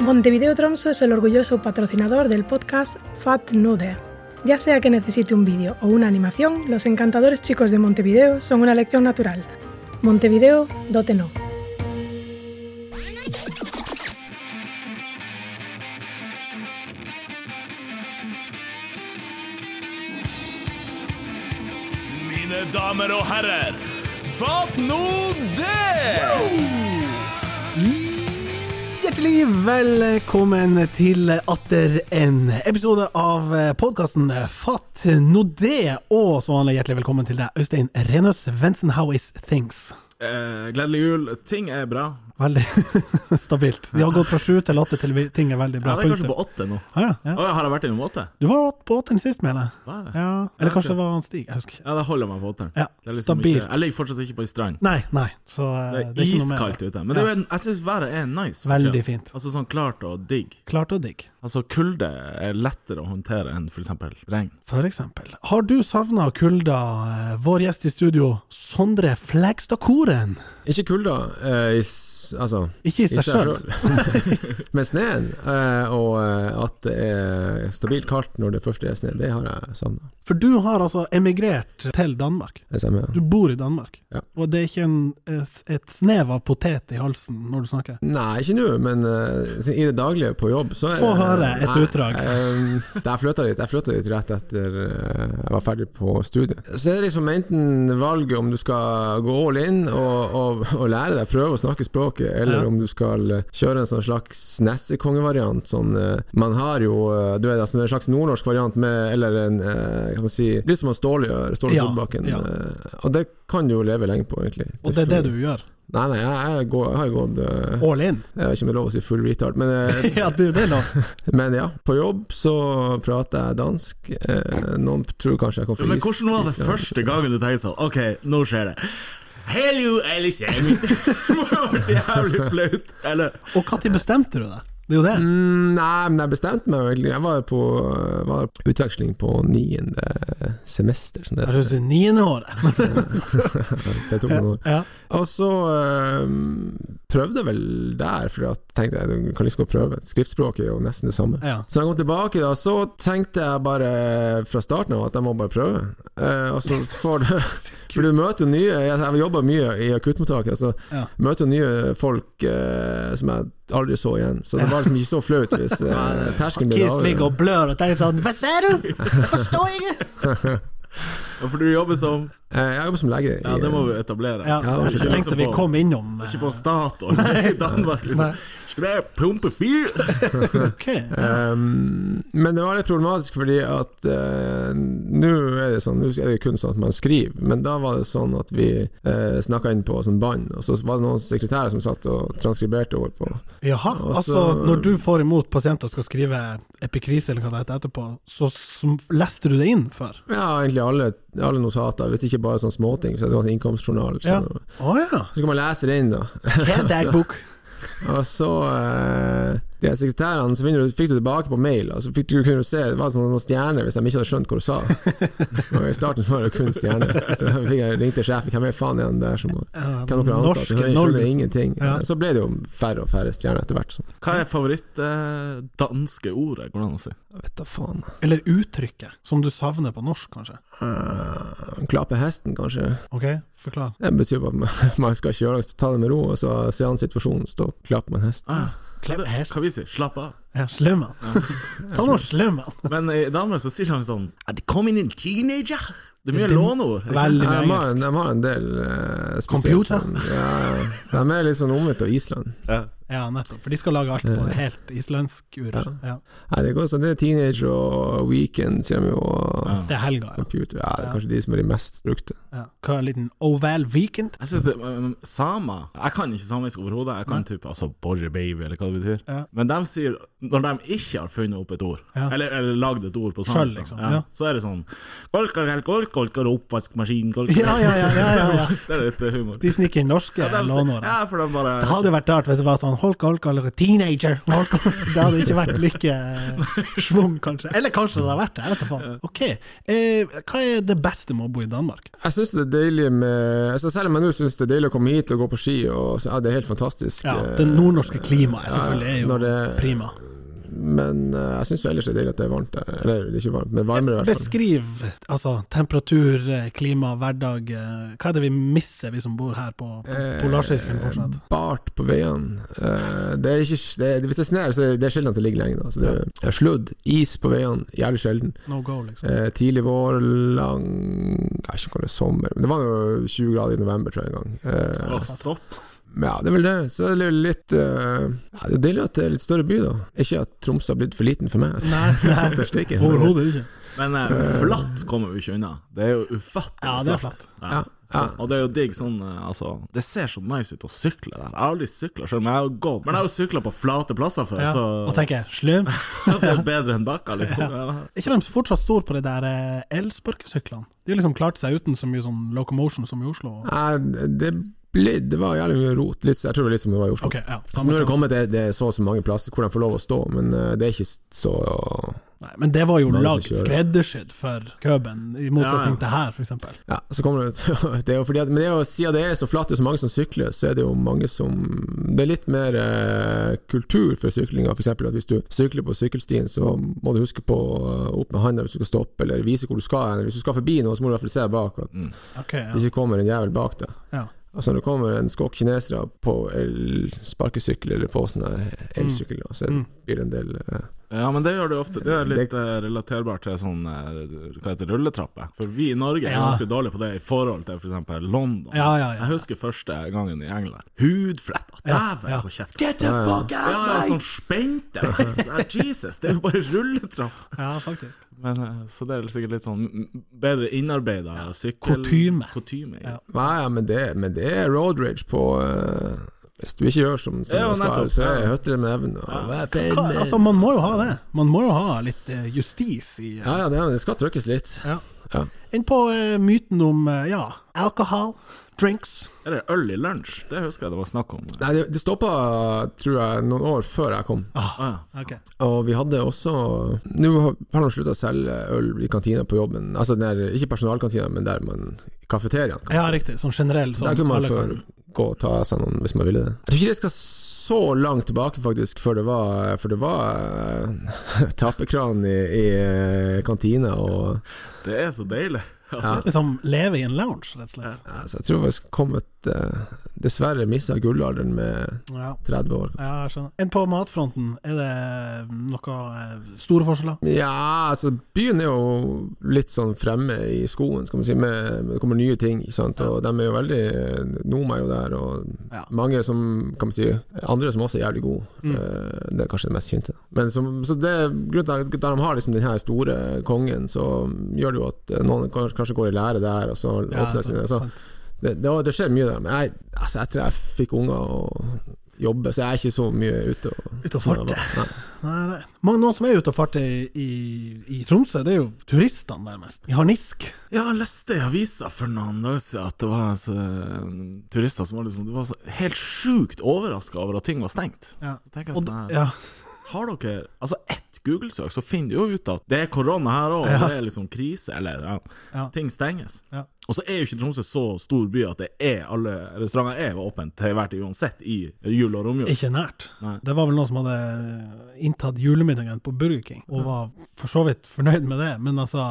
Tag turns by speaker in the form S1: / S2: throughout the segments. S1: Montevideo Tromso es el orgulloso patrocinador del podcast Fat Nude. Ya sea que necesite un vídeo o una animación, los encantadores chicos de Montevideo son una elección natural. Montevideo, dote no.
S2: Mine damer og herrer, fatt nå det!
S3: Hjertelig velkommen til atter en episode av podkasten Fatt nå det, og så vanlig hjertelig velkommen til deg, Øystein Renøs Svendsen. How is things?
S2: Eh, gledelig jul. Ting er bra.
S3: Veldig stabilt. De har gått fra sju til åtte til vi- ting er veldig
S2: Ja,
S3: bra.
S2: det er kanskje
S3: Punktum.
S2: på åtte nå.
S3: Ah, ja, ja.
S2: Å ja, har jeg vært innom åtte?
S3: Du var på åtteren sist, mener jeg.
S2: Hva er det?
S3: Ja, eller
S2: Ja,
S3: kanskje
S2: ok.
S3: det var han Stig, jeg husker ikke.
S2: Ja, da holder jeg meg på åtteren.
S3: Ja,
S2: Det er liksom
S3: stabilt.
S2: Ikke, jeg ligger fortsatt ikke på ei strand.
S3: Nei, nei. Så eh,
S2: Det er,
S3: det er ikke noe mer.
S2: iskaldt ute. Men det er, jo en- jeg syns været er nice. for
S3: Veldig
S2: tiden.
S3: fint.
S2: Altså sånn klart og digg.
S3: Klart og digg.
S2: Altså kulde er lettere å håndtere enn for eksempel regn.
S3: For eksempel. Har du savna kulda, eh, vår gjest i studio, Sondre Flagstadkoren?
S4: Ikke kulda, eh, i s- altså
S3: Ikke i
S4: i
S3: seg
S4: seg
S3: sjøl.
S4: sjøl, men sneen. eh, og eh, at det er stabilt kaldt når det først er snø, det har jeg savna.
S3: For du har altså emigrert til Danmark.
S4: Det stemmer.
S3: Du bor i Danmark.
S4: Ja.
S3: Og det er ikke en, et, et snev av potet i halsen når du snakker.
S4: Nei, ikke nå, men eh, siden i det daglige på jobb, så er
S3: Få
S4: det-
S3: høre et
S4: Nei,
S3: utdrag.
S4: eh, da jeg flytta dit, jeg flyttet dit rett etter eh, jeg var ferdig på studiet. Så er det liksom enten valget om du skal gå all in og, og, og lære deg, prøve å snakke språket, eller
S3: Ja.
S4: om du skal eh, kjøre en sånn slags nessekongevariant. Sånn, eh, man har jo eh, du vet, altså, en slags nordnorsk variant med Eller en eh, kan man si, litt som han Ståle gjør, Ståle
S3: Ja,
S4: Solbakken.
S3: ja.
S4: eh, og det kan du jo leve lenge på, egentlig.
S3: Og det er det du gjør.
S4: Nei, nei, jeg, jeg, går, jeg har jo gått eh,
S3: All in.
S4: jeg vet ikke om det er lov å si full retard, men, eh,
S3: Ja, det, det er lov.
S4: men ja. På jobb så prater jeg dansk. Eh, Noen tror kanskje jeg kom fra
S2: Men
S4: Is-
S2: hvordan var det
S4: Island.
S2: første gangen du tenkte sånn OK, nå skjer det. Hello, Alice Amy. Det må ha vært jævlig flaut. Eller
S3: Og når bestemte du deg? Det er jo det.
S4: Mm, nei, men jeg bestemte meg jo egentlig. Jeg var på eh, var på utveksling på niende semester, som det
S3: Er du
S4: heter.
S3: i niende året?
S4: Det tok noen år.
S3: Ja.
S4: Og så eh, prøvde jeg vel der, for jeg tenkte jeg du kan liksom godt prøve. Skriftspråket er jo nesten det samme.
S3: ja.
S4: Så da jeg kom tilbake, da, så tenkte jeg bare fra starten av at jeg må bare prøve. Eh, og så får du For du møter jo nye Jeg har jobba mye i akuttmottaket, så
S3: Ja.
S4: møter jo nye folk eh, som jeg aldri så igjen. Så det var liksom ikke så flaut hvis eh, terskelen ble
S3: Kis ligger
S4: lavere.
S3: og blør og tenker sånn Hva sier du? Jeg forstår ikke!
S2: For du jobber som
S4: Eh, jeg jobber som lege. i-
S2: Ja, det må vi etablere. liksom
S3: Ja,
S4: Ja,
S3: jeg tenkte vi kom innom
S2: Ikke på Statoil i Danmark, liksom.
S3: Nei.
S2: Skal jeg pumpe fyr?
S3: eh, Ok.
S4: Ehm, men det var litt problematisk fordi at eh, nå er det sånn Nå er det kun sånn at man skriver, men da var det sånn at vi uh, snakka inn på sånn bånd, og så var det noen sekretærer som satt og transkriberte over på
S3: Jaha.
S4: Og
S3: Altså,
S4: så-
S3: når du får imot pasienter og skal skrive epikrise eller hva det heter etterpå, så som, leste du det inn før?
S4: Ja, egentlig alle, alle notater, hvis ikke bare sånne småting. Så det var sånn innkomstjournal. Så,
S3: Ja. Å ja.
S4: så skal man lese det inn, da.
S3: Hva er dagbok?
S4: Og så eh, De her sekretærene så finner du, fikk du tilbake på mail, og så fikk du, kunne du se det var sånn, noen stjerner hvis de ikke hadde skjønt hva du sa. Og I starten var det kun stjerner. Så da fikk jeg ringte sjefen. Hvem er faen er han der som
S3: Ja,
S4: Hvem dere har ansatt?
S3: norske
S4: Jeg skjønner
S3: Norges.
S4: ingenting.
S3: Ja.
S4: Så ble det jo færre og færre stjerner etter hvert. Så.
S2: Hva er favoritt-danske ordet, går det an å si?
S4: Jeg Vet da faen.
S3: Eller uttrykket, som du savner på norsk, kanskje?
S4: Eh, klappe hesten, kanskje.
S3: Ok, forklar.
S4: Det betyr bare at man- man skal kjøre, ta det med ro, og så se an situasjonen, stå og klappe med en hest.
S2: Ah,
S3: Klepp hest.
S2: hva vi sier? Slapp av.
S3: Ja, Slemmen. Ta nå slemmen.
S2: Men i Danmark så sier de sånn "Ah, Det kom inn en teenager! Det er mye
S3: Det-
S2: låneord. ikke sant?
S3: Veldig
S4: Ja,
S3: mye
S4: de, har en,
S3: engelsk.
S4: de har en del eh, spesielt
S3: Computer?
S4: sånn, ja, de er litt sånn omvendt av Island.
S2: Ja.
S3: Ja, nettopp. For de skal lage alt på helt islandsk ur. Ja.
S4: Nei, det, går, sånn, det er teenage og weekend, sier de jo. Og
S2: Ja.
S3: Det er helga, ja.
S4: computer. Ja, det
S3: Ja.
S4: er kanskje de som er de mest brukte.
S3: ja. Hva er en liten oval weekend?
S2: Jeg synes det, um, Sama Jeg kan ikke samisk overhodet. Jeg kan typ, altså borre baby, eller hva det betyr.
S3: Ja.
S2: Men de sier Når de ikke har funnet opp et ord,
S3: Ja.
S2: eller, eller lagd et ord på samisk,
S3: Selv,
S2: da,
S3: liksom,
S2: ja,
S3: ja.
S2: så er det sånn Kolkarel, kolkolkar, oppvaskmaskin, kolkar
S3: Ja, ja, ja. ja, ja, ja.
S2: Det er litt humor.
S3: De sniker inn norske
S2: Ja, de sier-
S3: lånord.
S2: Ja, for de bare
S3: Det hadde vært rart hvis det var sånn Holka, Holka, eller teenager. Holka. Det hadde ikke vært like eh, schwung, kanskje. Eller kanskje det hadde vært det, jeg vet da faen. Ok, eh, hva er det beste med å bo i Danmark?
S4: Jeg syns det er deilig med altså Selv om jeg nå syns det er deilig å komme hit og gå på ski, og, så, ja, det er helt fantastisk.
S3: Ja,
S4: eh,
S3: Det nordnorske klimaet selvfølgelig er
S4: når
S3: jo
S4: det-
S3: prima.
S4: Men eh, jeg syns ellers det er deilig at det er varmt der. Eller det er ikke varmt, men varmere i hvert fall.
S3: Beskriv altså, temperatur, eh, klima, hverdag. eh, Hva er det vi misser, vi som bor her på, på polarsirkelen fortsatt?
S4: Eh, Bart på veiene. Eh, det er ikke, det er, hvis det er snør, så er det sjelden at det ligger lenge. Da. Så det er sludd, is på veiene, jævlig sjelden.
S3: No go, liksom.
S4: Eh, tidlig vår, lang Jeg vet ikke om det er sommer men Det var jo 20 grader i november, tror jeg en gang.
S2: Å,
S4: Eh,
S2: sopp.
S4: men ja, det er vel det. Så er det jo litt eh, ja, Det er deilig at det er litt større by, da. Ikke at Tromsø har blitt for liten for meg. altså.
S3: Nei,
S4: At det
S3: nei,
S4: stikker.
S3: overhodet ikke.
S2: Men eh, flatt kommer vi ikke unna. Det er jo ufattelig
S3: Ja, det er flatt.
S2: Ja.
S4: Ja, ja.
S2: Og det er jo digg sånn eh, Altså, det ser så nice ut å sykle der. Jeg har aldri sykla sjøl, men jeg har jo gått. Men jeg har jo sykla på flate plasser før,
S3: Ja.
S2: så
S3: Og tenker jeg, slum.
S2: at det er bedre enn bakka, liksom.
S3: Er ikke de fortsatt store på de der eh, elsparkesyklene? De har liksom klart seg uten så mye sånn locomotion som i Oslo.
S4: Nei, det, ble, det var jævlig mye rot. Litt, jeg tror det var litt som det var i Oslo.
S3: Ok, ja,
S4: Så nå
S3: samme
S4: er det
S3: plass.
S4: kommet til det er så og så mange plasser hvor de får lov å stå, men eh, det er ikke så
S3: Nei, men det var jo
S4: Mange som
S3: laget
S4: kjører.
S3: skreddersydd for Køben, i motsetning
S2: Ja, ja.
S3: til her, for eksempel.
S4: Ja, så kommer det, det er jo fordi at, Men det er jo, siden det er så flatt og så mange som sykler, så er det jo mange som Det er litt mer eh, kultur for syklinga. F.eks. at hvis du sykler på sykkelstien, så må du huske på å opp med handa hvis du skal stoppe, eller vise hvor du skal hen. Hvis du skal forbi noen, så må du i hvert fall se bak, at
S2: Mm.
S3: Ok, ja.
S4: det ikke kommer en jævel bak deg.
S3: Ja.
S4: Altså Når det kommer en skokk kinesere på el- sparkesykkel eller på sånn der elsykkel, da, så er det- blir det en del eh,
S2: Ja, men det gjør det jo ofte. Det er litt eh, relaterbart til sånn eh, Hva heter det, rulletrapper. For vi i Norge er
S3: Ja.
S2: ganske dårlige på det i forhold til f.eks. London.
S3: Ja, ja, ja.
S2: Jeg husker første gangen i England. Hudfletta.
S3: Ja,
S2: Dæven
S3: ja.
S2: på kjeften. Get the fuck out, ja, ja, sånn spente. Ja, Jesus, det er jo bare
S4: sånn.
S2: rulletrapp.
S3: ja, faktisk.
S2: Men, eh, så det er sikkert litt sånn mm, bedre innarbeida sykkel...
S3: Kutyme.
S2: Kutyme,
S3: Ja.
S2: ja.
S4: Nei, ja, men det, men det er road rage på eh, Hvis du ikke gjør som, som
S2: Ja,
S4: jeg skal,
S2: nettopp,
S4: så er
S2: ja.
S4: høtter det med nevn. og hva faen,
S3: Hva,
S4: eh?
S3: altså, man må jo ha det. Man må jo ha litt eh, justis i eh,
S4: Ja, ja, det, det skal trykkes litt.
S3: Ja.
S4: Ja.
S3: Inn på eh, myten om eh, ja, alkohol, drinks.
S2: Er det øl i lunsj? Det husker jeg det var snakk om.
S4: Nei, det, det stoppa, tror jeg, noen år før jeg kom.
S2: Ah, ja.
S3: Ok.
S4: Og vi hadde også Nå har har de slutta å selge øl i kantina på jobben. Altså den der, ikke personalkantina, men der man Kafeteriaen.
S3: Ja, riktig. Sånn generell. Sånn,
S4: Der kunne man
S3: alle
S4: før
S3: kan-
S4: gå og ta seg noen hvis man ville det. Jeg tror ikke det skal så langt tilbake, faktisk, før det var, for det var eh, tappekran i, i eh, kantina og
S2: Det er så deilig. Altså,
S3: Liksom leve i en lounge, rett og slett.
S4: ja, eh, Så jeg tror jeg kom et eh, Dessverre mista gullalderen med
S3: Ja.
S4: 30 år.
S3: ja, jeg skjønner. Enn på matfronten, er det noen eh, store forskjeller?
S4: Ja, altså byen er jo litt sånn fremme i skoen, skal man si. Med, med- det kommer nye ting, ikke sant. Og de er jo veldig Noma er jo der, og
S3: Ja. Mm.
S4: mange som kan man si Andre som også er jævlig gode. Eh, det er kanskje det mest kjente. Men som, så det er grunnen til at der de har liksom den her store kongen, så gjør det jo at eh, noen kanskje, kanskje går i lære der, og så åpner
S3: sant,
S4: sine. Så
S3: altså, sant.
S4: det, det, det skjer mye der. Men jeg, altså, etter jeg fikk unger og jobbe, så jeg er ikke så mye ute og
S3: Ute og
S4: som jeg
S3: farte.
S4: var. Nei.
S3: Nei, nei. Mange, noen som er ute og farter i, i, i Tromsø, det er jo turistene, nærmest. I harnisk.
S2: Ja, jeg leste i avisa for noen dager siden at det var altså, eh, turister som var, liksom, de var så helt sjukt overraska over at ting var stengt.
S3: Ja.
S2: Så tenker jeg
S3: Og,
S2: sånn her,
S3: ja.
S2: Har dere altså ett Google-søk, så finner du jo ut at det er korona her òg,
S3: Ja.
S2: det er liksom krise, eller ja,
S3: Ja.
S2: ting stenges.
S3: Ja.
S2: Og så er jo ikke Tromsø så stor by at det er alle restauranter er åpne til hver tid uansett i jul og romjul.
S3: Ikke nært.
S2: Nei.
S3: Det var vel noen som hadde inntatt julemiddagen på Burger King, og var for så vidt fornøyd med det, men altså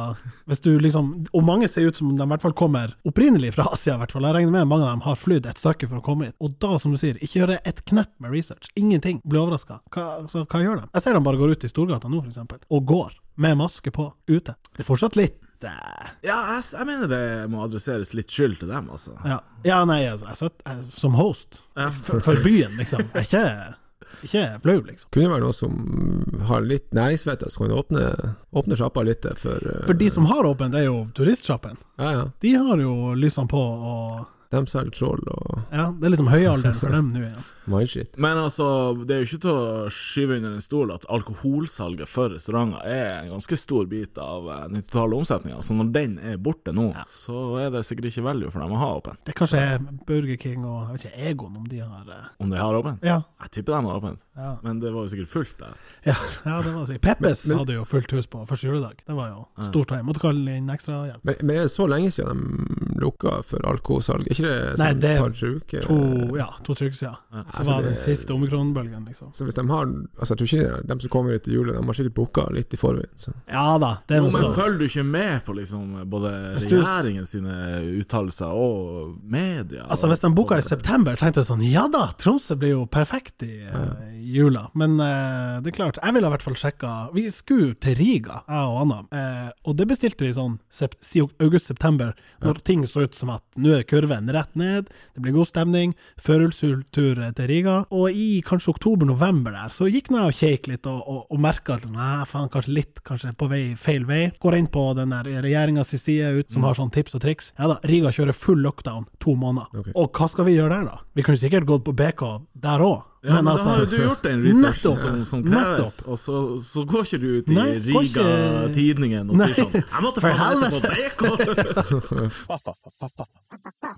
S3: hvis du liksom, Og mange ser ut som om de i hvert fall kommer opprinnelig fra Asia, i hvert fall. Jeg regner med mange av dem har flydd et stykke for å komme hit. Og da, som du sier, ikke gjøre et knepp med research. Ingenting. Blir overraska. Hva, så hva gjør de? Jeg ser de bare går ut i Storgata nå, for eksempel, og går med maske på ute. Det er fortsatt litt eh,
S2: Ja, jeg, jeg mener det må adresseres litt skyld til dem, altså.
S3: ja. ja, nei, altså, jeg satt jeg, som host
S2: Ja.
S3: for, for byen, liksom. Jeg er ikke, ikke flau, liksom.
S4: Kunne det være noen som har litt næringsvett, så kan du åpne, åpne sjappa litt der for, eh,
S3: For de som har åpent, det er jo turistsjappen.
S4: ja, ja.
S3: De har jo lysene på, og
S4: De selger troll og
S3: Ja, det er liksom høyalderen for dem nå igjen.
S4: mindshit.
S2: Men altså, det er jo ikke til å skyve under en stol at alkoholsalget for restauranter er en ganske stor bit av eh, den totale omsetninga. Så når den er borte nå, så er det sikkert ikke value for dem å ha åpent.
S3: Det er kanskje Burger King og jeg vet ikke, Egon, om de har eh,
S2: Om de har åpent?
S3: Ja.
S2: Jeg tipper de har åpent,
S3: Ja,
S2: men det var jo sikkert fullt der.
S3: ja, ja det var sikkert. Peppes
S4: Men- men-
S3: hadde jo fullt hus på første juledag. Det var jo stort. Jeg måtte kalle inn ekstra hjelp.
S4: Men, men er det så lenge siden de lukka for alkoholsalg? Er ikke det sånn
S3: Nei, det er
S4: par uker?
S3: To, ja, to trykk siden. Det
S4: Altså,
S3: var
S4: det-
S3: den siste omikronbølgen, liksom.
S4: Så hvis de har Altså, jeg tror ikke de som kommer etter jula, de har sikkert booka litt i forveien. Så.
S3: Ja da, det er
S2: Jo,
S3: noe
S2: men
S3: sånt.
S2: følger du ikke med på liksom både
S3: Hvis du-
S2: regjeringen sine uttalelser og media?
S3: Altså, hvis de booka i september, tenkte jeg sånn Ja da, Tromsø blir jo perfekt i eh, jula. Men eh, det er klart, jeg ville i hvert fall sjekka Vi skulle til Riga, jeg og Anna, eh, og det bestilte vi sånn sep- si august-september, når ting så ut som at nå er kurven rett ned, det blir god stemning, førjulstur eh, til Riga, og i kanskje oktober-november der, så gikk jeg og kjekk litt og, og, og merka at nei, faen, kanskje litt kanskje på vei feil vei. Går inn på den der regjeringa si side ut,
S2: Mm.
S3: som har sånn tips og triks. Ja da, Riga kjører full lockdown to måneder.
S4: Ok.
S3: Og hva skal vi gjøre der, da? Vi kunne sikkert gått på BK der òg.
S2: Ja, men, da har jo du gjort den
S3: altså-
S2: researchen
S3: Nettopp.
S2: som, som kreves,
S3: Nettopp.
S2: og så, så går ikke du ut i
S3: Nei, går ikke-
S2: Riga-tidningen og
S3: Nei.
S2: sier sånn 'Jeg måtte
S3: For
S2: faen meg på BK'!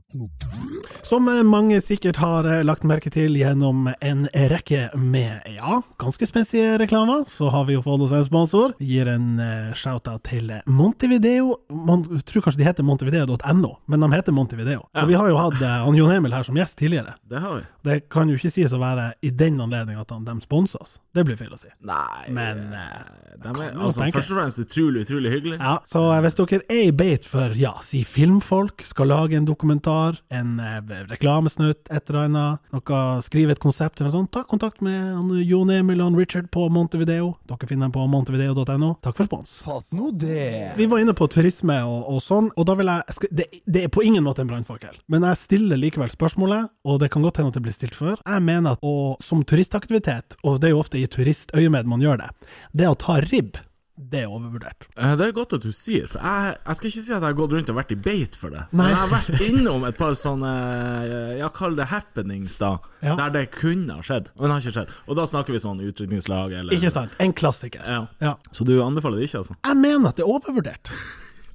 S3: Som eh, mange sikkert har eh, lagt merke til gjennom en rekke med ja, ganske spenstige reklamer, så har vi jo fått oss en sponsor. Vi gir en eh, shout-out til eh, Montevideo. Man jeg tror kanskje de heter montevideo.no, men de heter Montevideo. Og vi har jo hatt eh, han Jon Emil her som gjest tidligere.
S2: Det har vi.
S3: Det kan jo ikke sies å være i den anledning at han, de sponser oss. Det blir feil å si.
S2: Nei
S3: Men,
S2: eh, de
S3: kan
S2: er,
S3: jo
S2: altså,
S3: tenkes.
S2: Først og fremst utrolig, utrolig hyggelig.
S3: Ja, så eh, hvis dere er i beit for, ja, si filmfolk, skal lage en dokumentar, en eh, reklamesnutt, et eller annet, noe, skrive et konsept eller noe sånt, ta kontakt med han Jon Emil og han Richard på Montevideo. Dere finner dem på montevideo.no. Takk for spons.
S5: Fatt nå det!
S3: Vi var inne på turisme og, og sånn, og da vil jeg, jeg skal, det, det er på ingen måte en brannfakkel, men jeg stiller likevel spørsmålet, og det kan godt hende at det blir stilt før. Jeg mener at å, som turistaktivitet, og det er jo ofte i turistøyemed man gjør det, det å ta ribb, det er overvurdert.
S2: Eh, Det er godt at du sier, for jeg, jeg skal ikke si at jeg har gått rundt og vært i beit for det.
S3: Nei.
S2: Men jeg har vært innom et par sånne, eh, ja, kall det happenings, da.
S3: Ja.
S2: Der det kunne ha skjedd, men det har ikke skjedd. Og da snakker vi sånn utrykningslag eller
S3: Ikke sant? En klassiker.
S2: Ja.
S3: Ja.
S2: Så du anbefaler det ikke, altså?
S3: Jeg mener at det er overvurdert.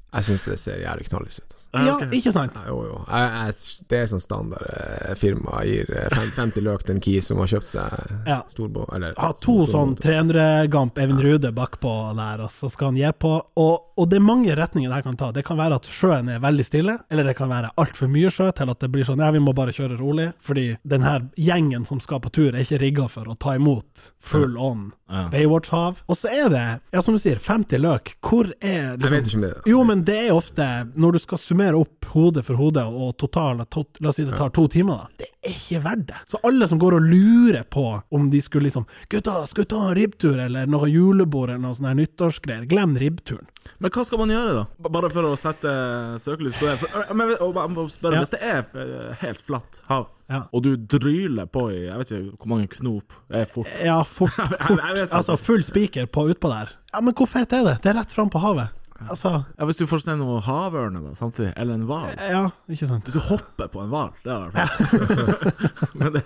S4: Jeg syns det ser jævlig knallhøyt ut. Altså.
S3: Ja,
S2: Ah, ok.
S3: ikke sant?
S4: Ja, Jo, jo. Jeg, jeg, det er sånn standard eh, firma gir eh, fem- 50 løk til en kis som har kjøpt seg
S3: Ja.
S4: storbåt Eller
S3: Ha to sånn 300 Gamp Even Rude bakpå der, og så skal han gi på. Og, og det er mange retninger det her kan ta. Det kan være at sjøen er veldig stille, eller det kan være altfor mye sjø til at det blir sånn ja, vi må bare kjøre rolig, fordi den her gjengen som skal på tur, er ikke rigga for å ta imot full on
S2: Ja.
S3: Baywatch-hav. Og så er det, ja, som du sier, 50 løk. Hvor er liksom
S4: Jeg vet ikke om det er
S3: Jo, men det er ofte, når du skal summere opp hode for hode, og total, tot, la oss si det tar to timer, da, det er ikke verdt det. Så alle som går og lurer på om de skulle liksom Gutta, skal vi ta en ribbtur, eller noe julebord, eller noe sånn her nyttårsgreier, glem ribbturen.
S2: Men hva skal man gjøre, da? B- Bare for å sette eh, søkelys på det. For, øh, men, og, bare- bare spørre,
S3: Ja.
S2: Hvis det er øh, helt flatt hav,
S3: Ja.
S2: og du dryler på i Jeg vet ikke hvor mange knop er fort
S3: Ja, fort, fort.
S2: jeg vet faktisk.
S3: Altså, full spiker på utpå der. Ja, men hvor fett er det? Det er rett fram på havet. Altså,
S2: ja, Hvis du får se noe havørne da, samtidig, eller en hval
S3: ja, ikke sant.
S2: Hvis du hopper på en hval, det har jeg vært Men det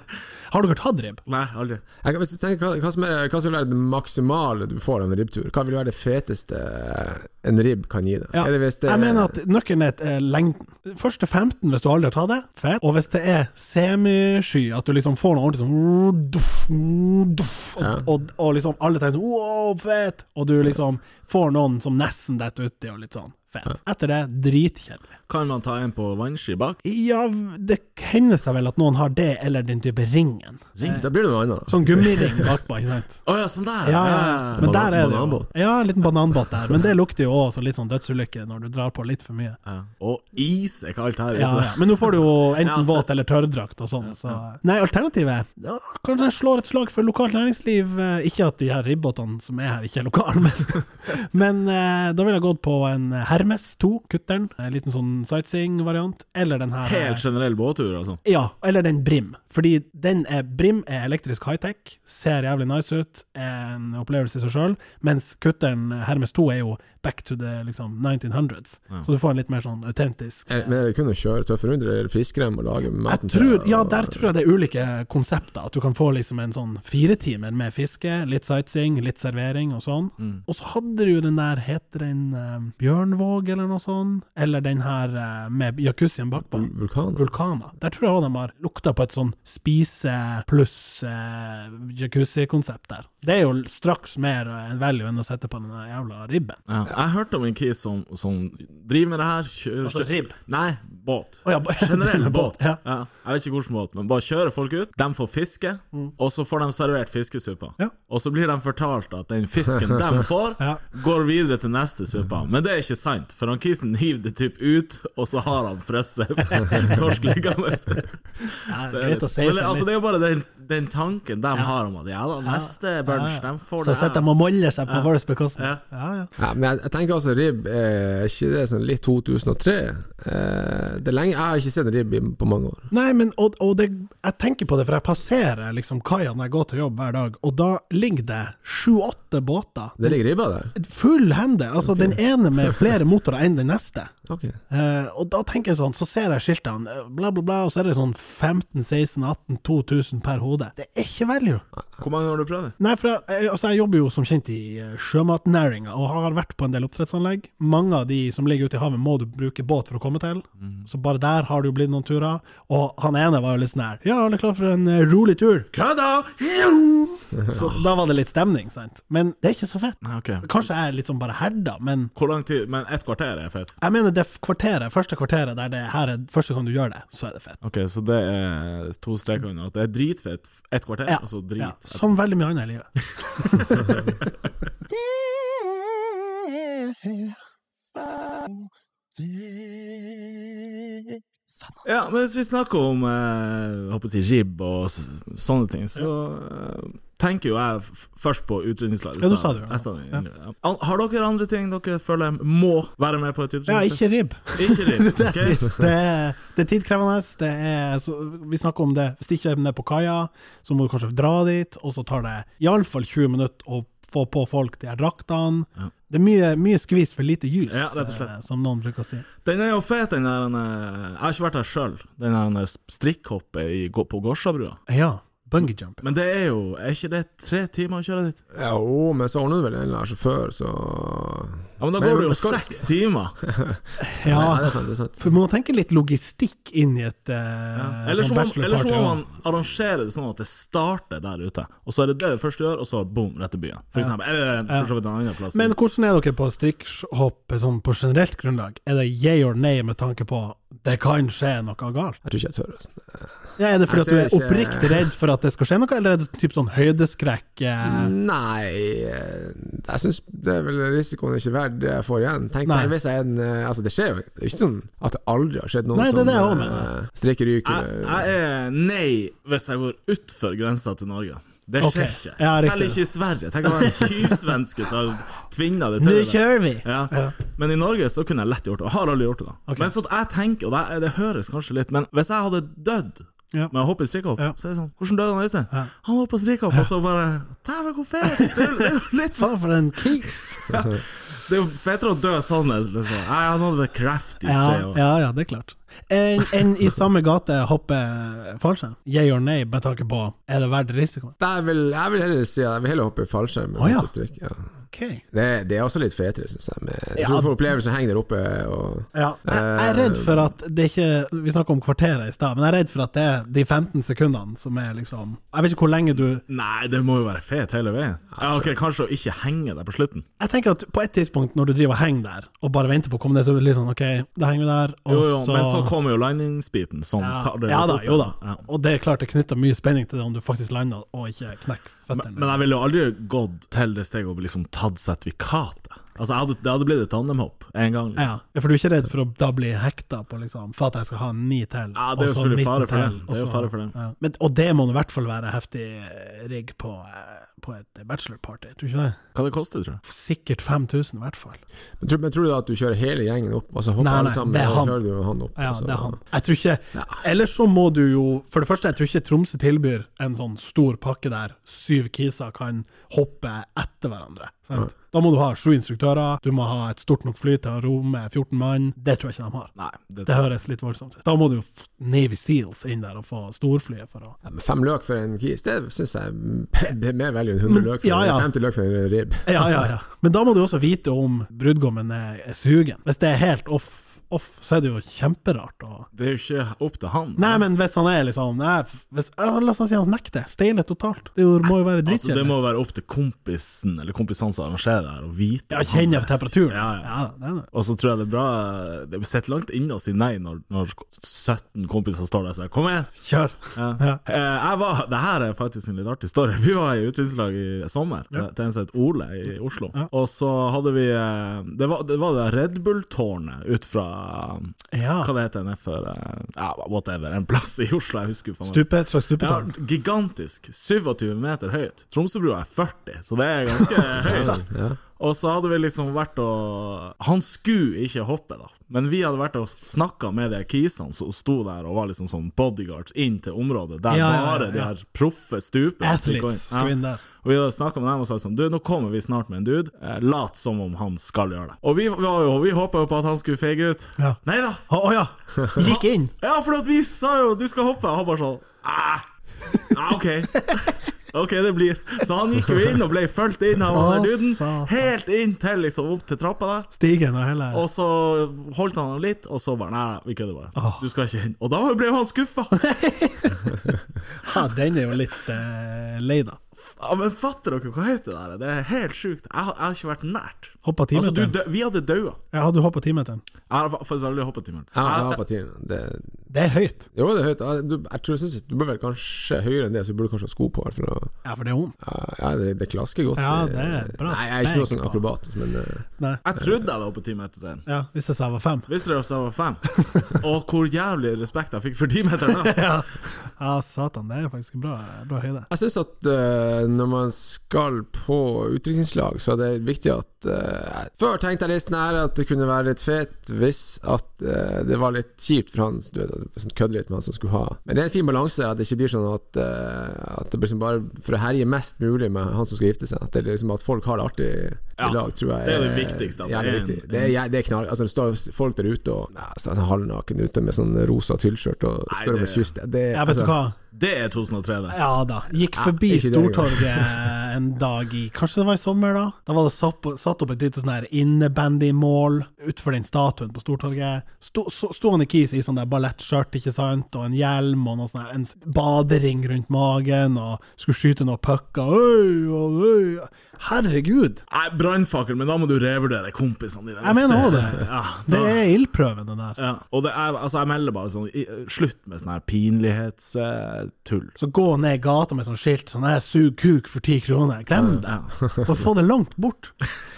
S3: Har dere tatt ribb?
S2: Nei, aldri.
S4: Jeg, kan- hvis du tenker, hva, hva, som er, hva som vil være det maksimale du får av en ribbtur? Hva vil være det feteste eh, en ribb kan gi deg?
S3: Ja.
S4: Er det hvis det
S3: Jeg mener at nøkkelen er eh, lengden. Første 15, hvis du aldri har tatt det, fett. Og hvis det er semisky, at du liksom får noe ordentlig sånn duff, duff, og,
S4: Ja.
S3: og, og liksom alle tenker sånn wow, fett, og du liksom får noen som nesten detter uti, og litt sånn fett. Etter det, dritkjedelig.
S2: Kan man ta en på vannski bak?
S3: Ja, det hender seg vel at noen har det, eller den type ringen.
S4: Da blir det noe annet.
S3: Sånn gummiring bakpå, ikke sant.
S2: Å ja, sånn der!
S3: Ja, ja.
S2: Ja,
S3: Men der er det jo
S4: Bananbåt.
S3: Ja, en liten bananbåt der. Men det lukter jo også litt sånn dødsulykke når du drar på litt for mye.
S2: ja. Og is er ikke alt her.
S3: Ja,
S2: altså.
S3: ja. Men nå får du jo
S2: Ja, altså,
S3: enten
S2: så-
S3: våt eller tørrdrakt og sånn, så Nei, alternativet ja, Kanskje jeg slår et slag for lokalt næringsliv. eh, Ikke at de her ribbåtene som er her, ikke er lokale, men, men eh, da ville jeg gått på en Hermes 2, kutteren. En liten sånn sightseeing-variant. Eller den her eh,
S2: Helt generell båttur, altså.
S3: ja, eller den Brim. Fordi den er, Brim er elektrisk high-tech, ser jævlig nice ut, er en opplevelse i seg sjøl, mens kutteren Hermes 2 er jo back to the liksom, 1900s.
S2: Ja.
S3: Så du får en litt mer sånn autentisk
S4: Er, Eh, men er det kun å kjøre tøffe runder, eller friskrem og lage maten
S3: jeg tror,
S4: til-
S3: ja,
S4: og-
S3: der tror jeg det er ulike konsepter. At du kan få liksom en sånn firetimer med fiske, litt sightseeing, litt servering og sånn.
S2: Mm.
S3: Og så hadde du jo den der, heter den eh, Bjørnvåg eller noe sånt? Eller den her eh, med jacuzzien bakpå.
S4: Vul- Vulkaner.
S3: Vulkaner. Der tror jeg også de har lukta på et sånn spise pluss eh, jacuzzi-konsept der. Det er jo straks mer eh, en value enn å sette på den der jævla ribben.
S2: Ja. Jeg hørte om en kis som, som driver med det her. Kjører,
S3: Altså ribb.
S2: Nei, båt.
S3: Å ja, ba-
S2: Generell båt.
S3: Ja.
S2: Ja. Jeg vet ikke hvilken båt, men bare kjører folk ut. De får fiske, og så får de servert fiskesuppa.
S3: Mm. Ja.
S2: Og så blir de fortalt at den fisken de får,
S3: Ja.
S2: går videre til neste suppa. Men det er ikke sant, for han kisen hiver det typ ut, og så har han frosset torsk liggende.
S3: Ja,
S2: Det er,
S3: greit å
S2: litt-
S3: si
S2: men,
S3: seg
S2: altså,
S3: litt.
S2: det er jo bare den, den tanken de har om at ja da, neste bunch, de får
S3: Så
S2: det.
S3: sitter de og moller seg på vår bekostning.
S2: Ja.
S3: Ja, ja.
S4: Ja, men jeg, jeg tenker altså ribb Er ikke det sånn litt 2003? Eh, det er lenge, Jeg har ikke sett en ribb i- på mange år.
S3: Nei, men og, og det, jeg tenker på det, for jeg passerer liksom kaia når jeg går til jobb hver dag, og da ligger det sju-åtte båter.
S4: Det ligger ribba der?
S3: Full hender! Altså den ene med flere motorer enn den neste.
S4: Ok.
S3: Eh, og da tenker jeg sånn, så ser jeg skiltene, eh, bla, bla, bla, og så er det sånn 15 16 18 2000 per hode. Det er ikke value.
S2: Hvor mange har du prøvd det?
S3: Nei, for jeg, jeg- altså, jeg jobber jo som kjent i eh, sjømatnæringa, og har vært på en del oppdrettsanlegg. Mange av de som ligger ute i havet, må du bruke båt for å komme til. Så bare der har det jo blitt noen turer. Og han ene var jo litt sånn her Ja, alle klar for en eh, rolig tur? Kødda! Så da var det litt stemning, sant. Men det er ikke så fett.
S2: Nei, ok.
S3: Kanskje jeg er litt sånn bare herda, men
S2: Hvor lang tid? Men ett kvarter er fett.
S3: jeg mener det kvarteret, første kvarteret der det her er første gang du gjør det, så er det fett.
S2: Ok, så det er to streker under. At det er dritfett ett kvarter,
S3: Ja,
S2: og så Altså drit.
S3: ja, som veldig mye annet i livet.
S2: Ja, men hvis vi snakker om eh, håper jeg å si, ribb og s sånne ting, så eh, tenker jo jeg f først på utrydningslag.
S3: Ja, du sa det jo.
S2: Jeg sa det. Ja. An- Har dere andre ting dere føler må være med på et
S3: Ja,
S2: utrydningslag?
S3: ikke ribb.
S2: Ikke ribb.
S3: Det,
S2: ok?
S3: er sist. det, er, det er tidkrevende. Det er, så, vi snakker om det. Hvis det ikke er nede på kaia, så må du kanskje dra dit, og så tar det iallfall 20 minutter å få på folk de her draktene.
S2: Ja.
S3: Det er mye, mye skvis for lite jus,
S2: Ja, rett og slett.
S3: eh, som noen bruker å si.
S2: Den er jo fet, den der eh, Jeg har ikke vært der sjøl, den der strikkhoppet i, gå- på Gårdsabrua.
S3: Ja, bungee jump.
S2: Men det er jo Er ikke det tre timer å kjøre dit?
S4: Ja, Jo, men så ordner du vel en eller annen sjåfør, så
S2: Ja, Men da
S4: Men-
S2: går det
S4: men
S2: jo
S4: skal du-
S2: seks timer!
S4: Nei,
S3: Ja,
S4: det er sant. Det er sant.
S3: for man må tenke litt logistikk inn i et eh,
S2: Eller så
S3: sånn
S2: må, eller så
S3: bachelorparty.
S2: må
S3: også.
S2: man arrangere det sånn at det starter der ute, og så er det det det første du gjør, og så boom, rett til byen. For
S3: Ja.
S2: eksempel. Eller for så vidt en annen plass.
S3: Men hvordan er dere på strikkhopp sånn på generelt grunnlag? Er det yeah or nay med tanke på det kan skje noe galt?
S4: Jeg tror ikke jeg tør. altså.
S3: Ja, er det fordi at du
S4: Jeg
S3: er
S4: ser ikke-
S3: oppriktig redd for at det skal skje noe, eller er det typ sånn høydeskrekk? eh?
S4: Mm, Nei, eh, jeg syns det er vel risikoen ikke verdt det jeg får igjen. Tenk
S3: Nei.
S4: deg hvis jeg er en eh, Altså, det skjer jo det er ikke sånn at det aldri har skjedd noen
S3: Nei, det er
S4: som
S3: det jeg også
S4: eh,
S3: mener.
S4: strekker ryk
S2: jeg,
S4: eller
S2: jeg er nei hvis jeg går utfor grensa til Norge. Det
S3: Ok.
S2: skjer ikke.
S3: Ja, riktig.
S2: Selv ikke i Sverige. Tenk å være en tyvsvenske som tvinner det
S3: Nå
S2: til. det.
S3: kjører vi!
S2: Ja. Men i Norge så kunne jeg lett gjort det. Jeg har aldri gjort det. da Men så at jeg tenker, og det, det høres kanskje litt Men hvis jeg hadde dødd
S3: Ja.
S2: med å hoppe i strikkhopp,
S3: Ja.
S2: så er det sånn Hvordan døde han, Øystein?
S3: Ja.
S2: Han hoppa strikkhopp, og så bare Dæven, hvor fet! Det er jo- det er jo litt
S3: Faen, for en kis!
S2: Det er jo fetere å dø sånn enn liksom. Nei, han hadde kreft i
S3: Ja,
S2: seg. og-
S3: ja, ja, det er klart. Enn en i samme gate hopper fallskjerm? Yeah or nay med tanke på er det verdt risikoen?
S4: jeg vil, jeg vil heller si at jeg vil heller hoppe i fallskjerm. enn
S3: Å, ja.
S4: hoppe i strikk, ja.
S3: Ok.
S4: det, det er også litt fetere, syns jeg. Med, jeg
S3: Ja.
S4: tror du får opplevelsen å henge der oppe. Og,
S3: Ja, jeg, jeg er redd for at det ikke Vi snakka om kvarteret i stad, men jeg er redd for at det er de 15 sekundene som er liksom Jeg vet ikke hvor lenge du
S2: Nei, det må jo være fet hele veien. Ja, ok, Kanskje å ikke henge deg på slutten.
S3: Jeg tenker at på et tidspunkt når du driver og henger der, og bare venter på å komme ned, så blir det litt sånn OK, da henger vi der, og
S2: Jo, jo,
S3: så
S2: Men så kommer jo landingsbiten. Sånn, tar
S3: Ja,
S2: det
S3: ja
S2: litt
S3: da,
S2: opp
S3: jo da.
S2: igjen. Ja.
S3: Og det er klart det knytter mye spenning til det om du faktisk lander og ikke knekker
S2: Men,
S3: føttene.
S2: men jeg ville jo aldri gått til det steget og liksom tatt sertifikatet. Altså, jeg hadde, Det hadde blitt et tandemhopp en gang. Liksom.
S3: ja, ja, for du er ikke redd for å da bli hekta på liksom, for at jeg skal ha ni til?
S2: Ja, det er
S3: og
S2: jo
S3: så
S2: selvfølgelig
S3: 19
S2: fare for det.
S3: til,
S2: Det
S3: og
S2: er jo
S3: så-
S2: fare for det.
S3: Ja. Men, og det må i hvert fall være heftig eh, rigg på, eh, på et bachelorparty, tror du ikke det?
S2: Hva det koster, tror jeg.
S3: Sikkert 5000 i hvert fall.
S4: men, tror, men tror du da at du kjører hele gjengen opp? Altså hopper
S3: Nei, nei,
S4: alle sammen,
S3: det er
S4: og
S3: han.
S4: så kjører du han opp?
S3: Ja,
S4: altså.
S3: det er han. Jeg tror ikke Ellers så må du jo For det første, jeg tror ikke Tromsø tilbyr en sånn stor pakke der syv kiser kan hoppe etter hverandre. Sant? Da må du ha sju instruktører, du må ha et stort nok fly til å romme 14 mann. Det tror jeg ikke de har.
S2: Nei, det,
S3: Det høres litt voldsomt ut. Da må du jo f- Navy Seals inn der og få storflyet for å
S4: Ja, men fem løk for en kis, det syns jeg er b- mer value enn 100 løk for,
S3: Mm, Ja, ja.
S4: 50 løk for en ribb.
S3: Ja, ja, ja. Men da må du også vite om brudgommen er, er sugen. Hvis det er helt off, off, så er det jo kjemperart å
S2: det er jo ikke opp til han.
S3: Nei, men hvis han er liksom nei, hvis, ja, La oss si han nekter. Steiner totalt. Det er jo- må jo være
S2: altså, det
S3: dritkjedelig.
S2: må være opp til kompisen eller kompisene som arrangerer det her, å vite
S3: ja,
S2: om han
S3: kjenner
S2: er-
S3: temperaturen.
S2: Ja, ja.
S3: Ja, det er det.
S2: Og så tror jeg det er bra Det sitter langt inne å si nei når, når 17 kompiser står der og sier 'kom igjen'.
S3: Kjør.
S2: Ja.
S3: Ja.
S2: Eh, Jeg var, det her er faktisk en litt artig story. Vi var i utviklingslag i sommer,
S3: Ja.
S2: til en som het Ole i Oslo.
S3: Ja.
S2: Og så hadde vi eh, Det var det, var det der Red Bull-tårnet ut fra
S3: Ja.
S2: Hva det heter det for eh, ja, whatever, en plass i Oslo, jeg husker faen meg.
S3: Stupe, et slags
S2: Ja,
S3: stupetårn.
S2: gigantisk. 27 meter høyt. Tromsøbrua er 40, så det er ganske høyt. da.
S4: Ja.
S2: Og så hadde vi liksom vært og Han skulle ikke hoppe, da. Men vi hadde vært og snakka med de kisene som sto der og var liksom sånn bodyguards inn til området, der
S3: Ja, ja,
S2: bare
S3: ja,
S2: de
S3: ja.
S2: her proffe stuper.
S3: Athletes skal inn der.
S2: Og vi hadde snakka med dem og sa sånn Du, nå kommer vi snart med en dude. Eh, lat som om han skal gjøre det. Og vi, var jo- vi håpa jo på at han skulle feige ut.
S3: Ja.
S2: Nei da!
S3: Å å, ja! Gikk inn.
S2: Ja, for at vi sa jo du skal hoppe, og han bare sånn ah, ah, OK. OK, det blir. Så han gikk jo inn og ble fulgt inn av han der
S3: Å,
S2: duden.
S3: satan.
S2: Helt inn til liksom opp til trappa der.
S3: Stigen og hele
S2: Og så holdt han han litt, og så bare Nei, vi kødder bare.
S3: Åh.
S2: Du skal ikke inn. Og da ble jo han skuffa.
S3: Ja, den er jo litt eh, lei, da.
S2: Ja, men fatter dere hva heter det der? Det er helt sjukt. Jeg, har- jeg har ikke vært nært.
S3: Hoppa
S2: Altså, du,
S3: timeteren.
S2: dø- vi hadde daua.
S3: Ja, du hoppa timeteren.
S2: Jeg har faktisk aldri hoppet timen.
S4: Ja, jeg har
S2: Jeg-
S4: partiene. Det,
S3: Det er høyt.
S4: jo, det er høyt. Ja, Du, jeg tror, synes, du bør vel kanskje høyere enn det, så du burde kanskje ha sko på. For å,
S3: Ja, for det er vondt.
S4: ja, det, det klasker godt.
S3: Ja, det er bra
S4: Nei, jeg er ikke noe
S3: spenk
S4: sånn
S3: på.
S4: akrobat, men eh,
S3: Nei.
S2: Jeg trodde jeg hadde hoppet timen etter den.
S3: Ja, hvis det sa jeg var fem.
S2: Visste dere også jeg var fan? Og hvor jævlig respekt jeg fikk for timeteren da.
S3: Ja, ja satan. Det er faktisk bra, bra høyde.
S4: Jeg syns at eh, når man skal på utdrikningslag, så er det viktig at eh, Før tenkte jeg listen her at det kunne være litt fet hvis at eh, det var litt kjipt for han Du vet, at sånn kødde litt med han som skulle ha Men det er en fin balanse der, at det ikke blir sånn at, eh, at det blir liksom bare for å herje mest mulig med han som skal gifte seg. At, det er liksom at folk har det artig
S2: Ja,
S4: i lag, tror jeg.
S2: det er det viktigste, at
S4: Ja,
S2: det er en-
S4: det er,
S2: mm.
S4: viktig. Det er, ja, det er knall. Altså, det står folk der ute og nei, så er han halvnaken ute med sånn rosa tyllskjørt og
S2: Nei,
S4: spør om
S2: det-
S4: et kyss. Det, det,
S3: Ja, vet du
S4: altså,
S3: hva?
S2: Det er 2003, det.
S3: Ja da. Gikk
S4: Ja,
S3: forbi
S4: ikke det engang.
S3: Stortorget en dag i Kanskje det var i sommer, da? Da var det satt, på, satt opp et lite sånn her innebandymål utenfor den statuen på Stortorget. Sto, så- sto han i kis i sånn der ballettskjørt, ikke sant, og en hjelm og noe sånn her, en s- badering rundt magen, og skulle skyte noen pucker. Øy, og øy. Herregud!
S2: Nei, brannfakkel, men da må du revurdere kompisene dine.
S3: Jeg mener også det.
S2: Ja,
S3: Det
S2: da-
S3: er ildprøven, den der.
S2: Ja, og det er, altså jeg melder bare sånn i- Slutt med sånn her pinlighetstull.
S3: Så gå ned gata med sånn skilt sånn 'Jeg suger kuk for ti kroner'. Glem det! Og få det langt bort.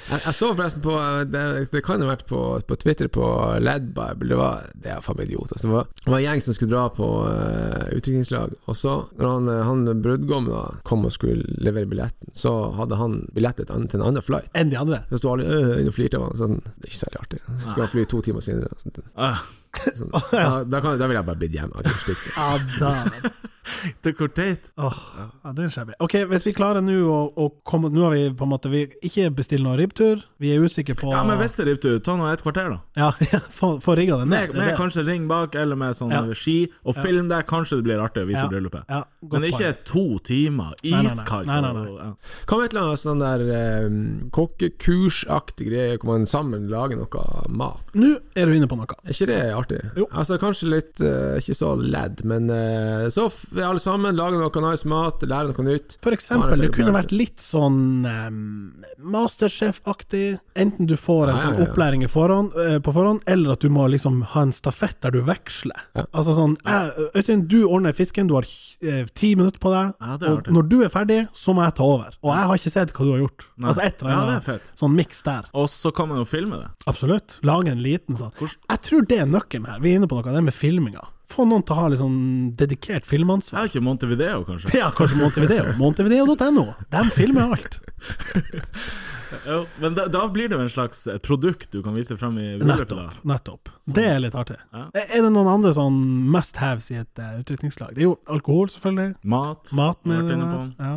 S4: Jeg, jeg så forresten på Det, det kan ha vært på, på Twitter på Ladbible. Det var Det er faen meg idiot. Altså, det, var, det var en gjeng som skulle dra på uh, utviklingslag. Og så, når han, eh, han brudgommen da kom og skulle levere billetten, så hadde han billett til et annet- til en annen flight.
S3: Enn de andre.
S4: Så sto alle øh, inne og flirte av han. Så sånn, det er ikke særlig artig. Så Skulle han fly to timer senere. Sånn,
S2: Ah,
S4: sånn. Da, da, kan, da ville jeg bare blitt hjemme. Jeg kunne stikt.
S3: Ja da.
S2: det er hvor teit.
S3: Åh, ja, det er skjebne. Ok, hvis vi klarer nå å, å komme Nå har vi på en måte vi ikke bestilt noen ribbtur. Vi er usikre på
S2: Ja, men hvis det ripper ut, ta nå et kvarter, da.
S3: Ja, ja, få få rigga det
S2: Med,
S3: ned.
S2: med
S3: det er det.
S2: kanskje ring bak, eller med sånn
S3: Ja.
S2: ski, og film det. Kanskje det blir artig å vise
S3: Ja.
S2: bryllupet.
S3: Ja, godt
S2: Men ikke to timer
S3: nei, nei.
S2: iskaldt.
S3: Nei, nei, nei.
S2: og- ja.
S4: Hva med et eller annet sånn der eh, kokkekursaktig greie, hvor man sammen lager noe mat?
S3: Nå er du inne på noe.
S4: Er ikke det artig?
S3: Jo.
S4: Altså Kanskje litt eh, ikke så ledd, men eh, så f alle sammen lager noe nice mat, lærer noe nytt.
S3: For
S4: Ja,
S3: eksempel,
S4: det er
S3: det kunne
S4: opplevelse.
S3: vært litt sånn um, Masterchef-aktig. Enten du får en
S4: Ja, ja,
S3: sånn
S4: ja.
S3: opplæring i forhånd, eh, på forhånd, eller at du må liksom ha en stafett der du veksler. Altså sånn jeg- Øystein, du ordner fisken, du har eh, ti minutter på deg,
S2: Ja, det er
S3: og
S2: artig.
S3: når du er ferdig, så må jeg ta over. Og jeg har ikke sett hva du har gjort.
S2: Nei.
S3: Altså et eller
S2: Ja,
S3: annet
S2: det er fett.
S3: sånn miks der.
S2: Og så kan man jo filme det.
S3: Absolutt. Lage en liten sånn.
S2: Hvordan-
S3: Jeg tror det er nøkkelen her. Vi er inne på noe av det med filminga. Få noen til å ha litt sånn dedikert
S2: Jeg
S3: filmansvar.
S2: har ikke Montevideo, kanskje.
S3: Ja, kanskje Montevideo. Montevideo.no. De filmer alt.
S2: Jo, men da, da blir det jo en slags eh, produkt du kan vise frem i bryllupet. da.
S3: Nettopp. nettopp. Det er litt artig.
S2: Sånn. Ja.
S3: Er det noen andre sånn must haves i et uh, utdrikningslag? Det er jo alkohol, selvfølgelig.
S2: Mat.
S3: Mat
S2: har
S3: med
S2: vært
S3: det
S2: inne
S3: der.
S2: på.
S3: eh, Ja.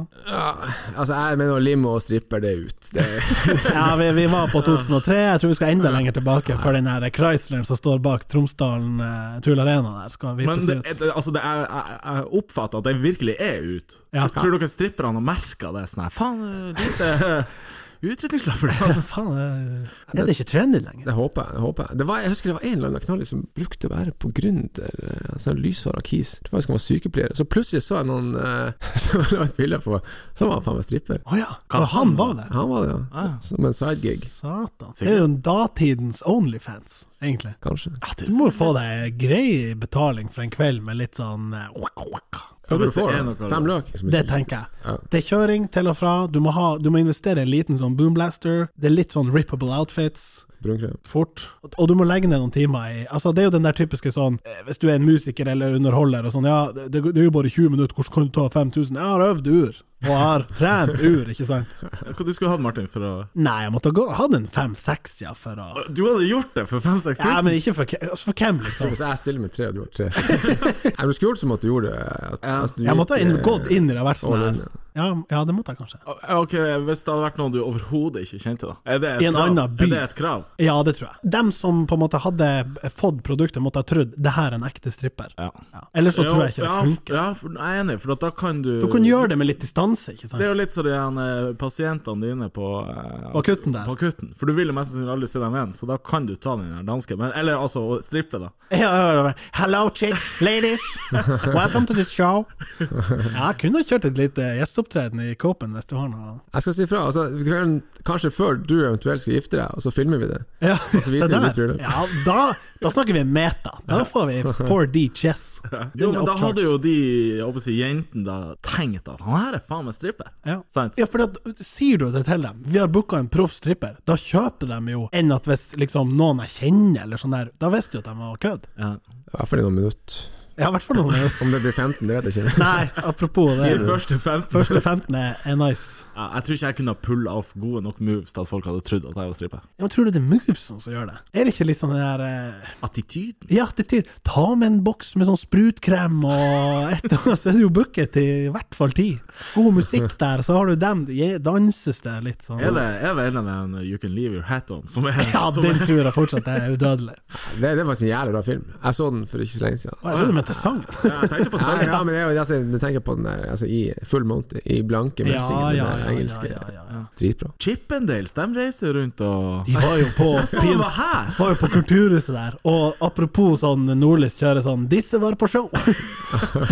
S4: Ja, altså, jeg mener limo og stripper, det er ut. Det er,
S3: Ja, vi, vi var på 2003. Jeg tror vi skal enda lenger tilbake for den her Chrysleren som står bak Tromsdalen eh, Tool Arena der. Skal
S2: Men
S3: vippes
S2: det,
S3: ut.
S2: det- altså, det er, jeg, jeg oppfatter at det virkelig er ut.
S3: Ja.
S2: Tror dere stripperne har merka det? eh, Sånn her, faen, eh, lite utrydningslapper.
S3: Ja, faen, eh, er det ikke trendy lenger?
S4: det håper jeg. det håper Jeg Det var, jeg husker det var en eller annen knallis som brukte å være på gründer, eh, altså lyshåra kis. Jeg tror faktisk han var sykepleier. Så plutselig så jeg noen eh, som la et bilde på Så var han faen meg stripper.
S3: Å ja, og han var der.
S4: Han var det, ja.
S2: Ah.
S4: Som en sidegig,
S3: Satan. Det er jo en datidens Onlyfans, egentlig.
S4: kanskje.
S3: Du må jo få deg grei betaling for en kveld med litt sånn eh, wak, wak.
S4: Hva
S2: Hvis
S4: tror du
S2: det
S4: får
S2: er
S4: da?
S2: noe-
S4: Fem løk?
S3: Det tenker jeg.
S4: Ja.
S3: Det er kjøring til og fra. Du må, ha, du må investere i en liten sånn boomblaster. Det er litt sånn rippable outfits.
S4: Brunkrem.
S3: fort. Og du må legge ned noen timer i Altså, det er jo den der typiske sånn eh, Hvis du er en musiker eller underholder og sånn, ja, det, det er jo bare 20 minutter, hvordan kan du ta 5000? Jeg har øvd ur, og jeg har trent ur, ikke sant?
S2: Hva du skulle hatt, Martin, for å
S3: Nei, jeg måtte ha gå- hatt en fem-seks, ja, for å
S2: Du hadde gjort det for 5000-6000?
S3: Ja, men ikke for, ke- altså, for hvem,
S4: Så
S3: liksom?
S4: hvis jeg stiller med tre, og du har tre Nei, men Du skulle gjort som at du gjorde det. At,
S2: Ja.
S4: altså, du
S3: Jeg måtte ha inn,
S4: gikk, eh,
S3: gått inn i det og vært sånn
S4: all
S3: her.
S4: in.
S3: Ja, ja, det måtte jeg kanskje.
S2: Ok, Hvis det hadde vært noen du overhodet ikke kjente, da? Er det et
S3: I en
S2: krav?
S3: annen by.
S2: Er det et krav?
S3: Ja, det tror jeg. Dem som på en måte hadde fått produktet, måtte ha trodd det her er en ekte stripper.
S2: Ja.
S3: Ja. Ellers så tror jeg ikke
S2: ja,
S3: det
S2: f-
S3: funker.
S2: Ja, for, jeg er enig, for at da kan du
S3: Du kunne gjøre det med litt distanse, ikke
S2: Det er jo
S3: sant?
S2: litt som de her, eh, pasientene dine på eh,
S3: På akutten der.
S2: På akutten. For du vil jo mest sannsynlig aldri se dem igjen, så da kan du ta den her danske. Men, eller altså å strippe, da.
S3: Ja, ja, ja. Hello, chicks, ladies. Welcome to this show. Ja, jeg kunne ha kjørt et lite gjesteopptreden i Copen hvis du har noe
S4: Jeg skal si fra. Altså, vi kan- kanskje før du eventuelt skal gifte deg, og så filmer vi det.
S3: ja,
S4: så viser
S3: se
S4: vi
S3: der.
S4: litt bilder.
S3: Ja, da, da snakker vi meta. Da får vi 4D chess.
S2: Jo,
S3: Den er
S2: men da
S3: off
S2: hadde
S3: charts.
S2: jo de jeg håper å si, jentene da tenkt at han her er faen meg stripper.
S3: ja.
S2: Sant?
S3: Ja, for at, Sier du det til dem, vi har booka en proff stripper, da kjøper de jo enn at hvis liksom, noen jeg kjenner, eller sånn der, da visste jo at de var kødd.
S2: Ja.
S4: I hvert fall i noen minutter.
S3: Ja, i hvert fall noen.
S4: Om det blir 15, det vet jeg ikke.
S3: Nei, apropos
S2: De
S3: det.
S2: første 15
S3: Første 15 er er nice.
S2: ja, Jeg tror ikke jeg kunne ha pulla off gode nok moves til at folk hadde trodd at jeg var stripper.
S3: Ja, men tror du det er movesen som gjør det? Er det ikke litt sånn den der eh,
S2: Attityd?
S3: Ja, det til, ta med en boks med sånn sprutkrem og et eller annet, så er det jo booket til i hvert fall ti. God musikk der, så har du dem, je- danses det litt sånn.
S2: Er det, er det en av den uh, You Can Leave Your Hat On som er
S3: Ja,
S2: som
S3: den
S2: er-
S3: tror jeg fortsatt er udødelig.
S4: Det, det var en jævlig bra film. Jeg så den for ikke så lenge siden.
S3: Og jeg tror du mente sangen.
S2: Jeg tenkte på
S4: Ja,
S2: sangen.
S4: ja, men det er jo, altså, du tenker på den der altså, i full monty, i blanke
S3: Ja,
S4: messingen,
S3: ja,
S4: den
S3: ja,
S4: der
S3: ja,
S4: engelske.
S3: ja, ja, ja.
S4: Dritbra.
S2: Chippendales, de reiser rundt og
S3: De var jo på
S2: Så han var her!
S3: var jo på kulturhuset der, og apropos sånn Nordlys kjører sånn 'Disse var på show'!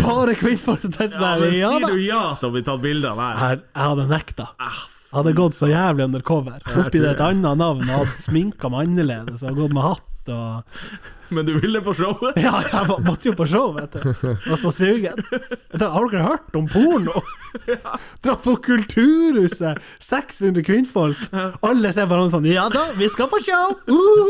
S3: Bare kvinnfolk som tenker
S2: Ja,
S3: sånn
S2: men
S3: der, ja
S2: sier
S3: da!
S2: du Ah, ja til å bli tatt bilde av der?
S3: Her, jeg hadde nekta. Jeg hadde gått så jævlig undercover. Oppi det et annet navn og hadde sminka meg annerledes og gått med hatt og
S2: Men du ville på showet?
S3: Ja, jeg var- måtte jo på show, vet du. Var så sugen. Jeg tenkte, Har dere hørt om porno? Dra på Kulturhuset, 600 kvinnfolk. Alle ser på hverandre sånn Ja da, vi skal på show!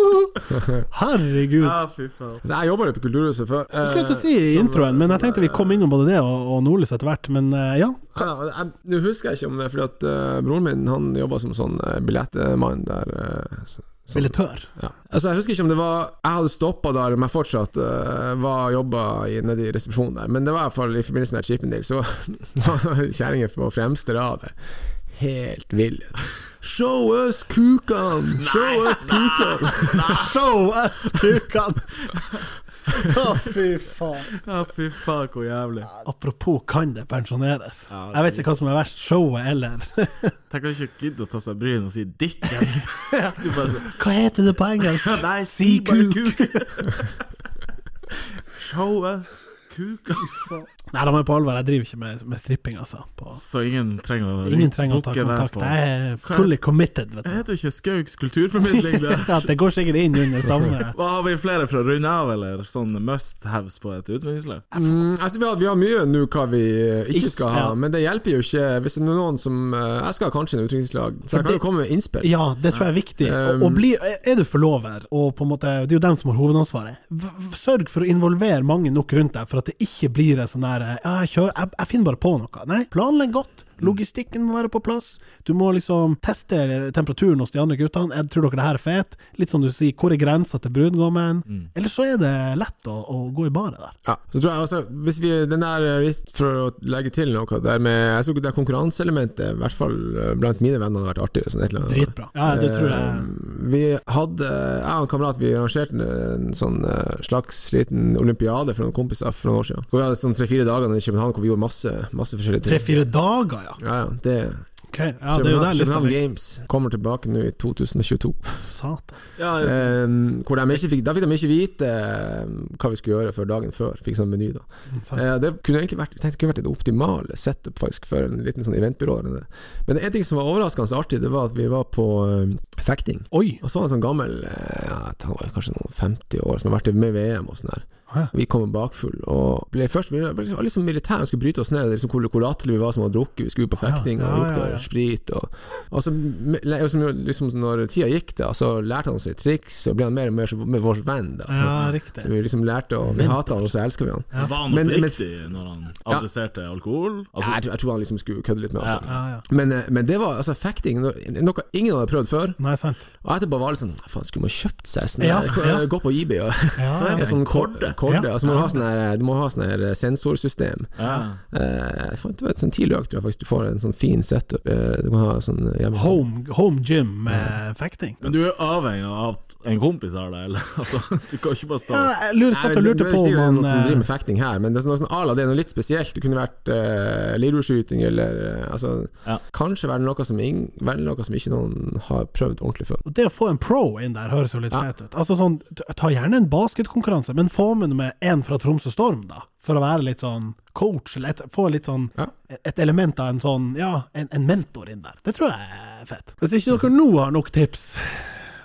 S3: Uh! Herregud.
S2: fy faen.
S4: Altså, jeg jobba litt på Kulturhuset før. Eh,
S3: Jeg skulle til å si i introen, men jeg tenkte vi kom innom både sånn det og, og Nordlys etter hvert. Men eh, ja,
S4: Ja, jeg- Nå husker jeg ikke om det, fordi at eh, broren min han jobba som sånn eh, billettmann der. eh, så- sånn-
S3: billettør.
S4: Ja. Altså, jeg husker ikke om det var Jeg hadde stoppa der, men jeg fortsatt eh, var jobba i- nede i resepsjonen der. Men det var i hvert fall i forbindelse med Chippendale, så var kjerringa på fremste rad der. Helt vill. Show us kukan! Show us kukan!
S3: Show us kukene! Å, fy faen.
S2: Ja, fy faen, hvor jævlig.
S3: Apropos kan det pensjoneres.
S2: Ja,
S3: Jeg vet ikke hva som er verst, showet eller
S2: Tenk å ikke gidde å ta seg bryet og si dick. Du bare
S3: Hva heter det på engelsk?
S2: Nei,
S3: si bare
S2: Show us kuk.
S3: Nei, da må jeg på alvor, jeg driver ikke med, med stripping, altså. På.
S2: Så ingen trenger å
S3: Ingen trenger å ta
S2: booke deg
S3: kontakt.
S2: på-
S3: Jeg er fully committed, vet
S2: Jeg
S3: du.
S2: heter ikke Skaugs kulturformidling. det.
S3: Ja, det går sikkert inn under samme
S2: Hva Har vi flere fra runde av, eller sånn must haves på et utviklingslag?
S4: Mm, altså, vi har, vi har mye nå hva vi eh, ikke
S3: Ikke,
S4: skal ha,
S3: ja.
S4: men det hjelper jo ikke hvis det er noen som eh, Jeg skal kanskje en utdrikningslag, så jeg kan jo komme med innspill.
S3: Ja, det tror jeg er viktig. Og, og bli, er du forlover, og på en måte, det er jo dem som har hovedansvaret, v- v- sørg for å involvere mange nok rundt deg, for at det ikke blir en sånn der ja, jeg, kjører, jeg, jeg finner bare på noe. Nei, planlegg godt. Logistikken må være på plass. Du må liksom teste temperaturen hos de andre guttene. Jeg tror dere det her er fett. Litt som du sier, hvor er grensa til brudgommen? Eller så er det lett å, å gå i baret der.
S4: Ja, så tror jeg også, hvis vi, den der, eh, hvis, For å legge til noe der med Jeg tror ikke det konkurranseelementet, i hvert fall eh, blant mine venner, hadde vært artig. Sånn, et eller annet.
S3: Dritbra. Ja, det tror jeg.
S4: Eh, Vi hadde Jeg og en kamerat Vi arrangerte en, en sånn eh, slags liten olympiade for noen kompiser for noen år siden. Hvor vi hadde sånn tre-fire dager nede i København hvor vi gjorde masse, masse forskjellige ting.
S3: Tre-fire dager, ja.
S4: Ja, ja, det,
S3: Ok, ja, det er jo der lista
S4: København
S3: ligger.
S4: Games kommer tilbake nå i 2022.
S3: Satan.
S2: Ja,
S4: Eh, hvor de ikke fikk, da fikk de ikke vite eh, hva vi skulle gjøre før dagen før. Fikk sånn meny, da.
S3: Sant.
S4: Eh, det kunne egentlig vært, jeg tenkte, det kunne vært det optimale setup faktisk for en liten sånn eventbyrå. eller det. Men en ting som var overraskende artig, det var at vi var på eh, fekting.
S3: Oi!
S4: Og så var det en sånn gammel eh, ja, Han var jo kanskje noen 50 år, som har vært med i VM og sånn der.
S3: Å ja.
S4: Vi kom bakfull, og ble først vi ble liksom, liksom militære og skulle bryte oss ned. Liksom, hvor, hvor latterlige vi var som hadde drukket, vi skulle ut på
S3: Ja,
S4: fekting
S3: ja,
S4: og
S3: ja,
S4: lukta
S3: ja.
S4: sprit. Og, og så, me- le- liksom, liksom, når tida gikk, da, så lærte han oss litt triks, og ble han mer og mer som- med vår venn. Da,
S3: ja,
S4: så, så
S3: riktig.
S4: vi liksom lærte å Vi hater han, og så elsker vi han.
S3: Ja.
S2: Var han
S4: Men- men-
S2: oppriktig når han adresserte alkohol? Altså,
S4: jeg, tror- jeg tror han liksom skulle kødde litt med oss.
S2: Ja.
S4: da.
S3: Ja, ja.
S4: Men, eh, men det var altså fekting, no- noe ingen hadde prøvd før.
S3: Nei, sant.
S4: Og etterpå var det sånn Faen, skulle man kjøpt seg sånn?
S3: Ja,
S4: der,
S3: ja.
S4: Gå på eBay og
S3: Ja,
S2: Det
S4: En
S2: er
S3: ja.
S4: sånn
S2: korde.
S4: korde. korde.
S3: Ja.
S4: Altså, må du, ha sånn her, du må ha sånn her sensorsystem.
S2: ja.
S4: Eh, for, du vet, sånn tidlig økt tror jeg faktisk du får en sånn fin setup. Eh, du kan ha sånn hjemme.
S3: Home, home gym med fekting.
S2: Men du er avhengig av at en kompis har deg, eller? Altså, du kan ikke bare stå
S3: Ja, jeg lurer,
S4: Nei,
S3: satt
S4: men
S3: og
S4: det-
S3: lurte
S4: det er
S3: på
S4: sikkert
S3: om
S4: noen som driver
S3: han eh,
S4: med fekting her, men det er sånn, sånn ala, det er noe litt spesielt. Det kunne vært uh, lirurskyting eller eh, altså,
S2: Ja.
S4: Kanskje være noe, som ing, være noe som ikke noen har prøvd ordentlig før.
S3: Og Det å få en pro inn der høres jo litt
S4: Ja.
S3: fett ut. Altså sånn, t- Ta gjerne en basketkonkurranse, men få med med en fra Tromsø Storm, da. For å være litt sånn coach, eller et, få litt sånn
S4: Ja.
S3: et element av en sånn Ja, en, en mentor inn der. Det tror jeg er fett. Hvis ikke dere nå har nok tips,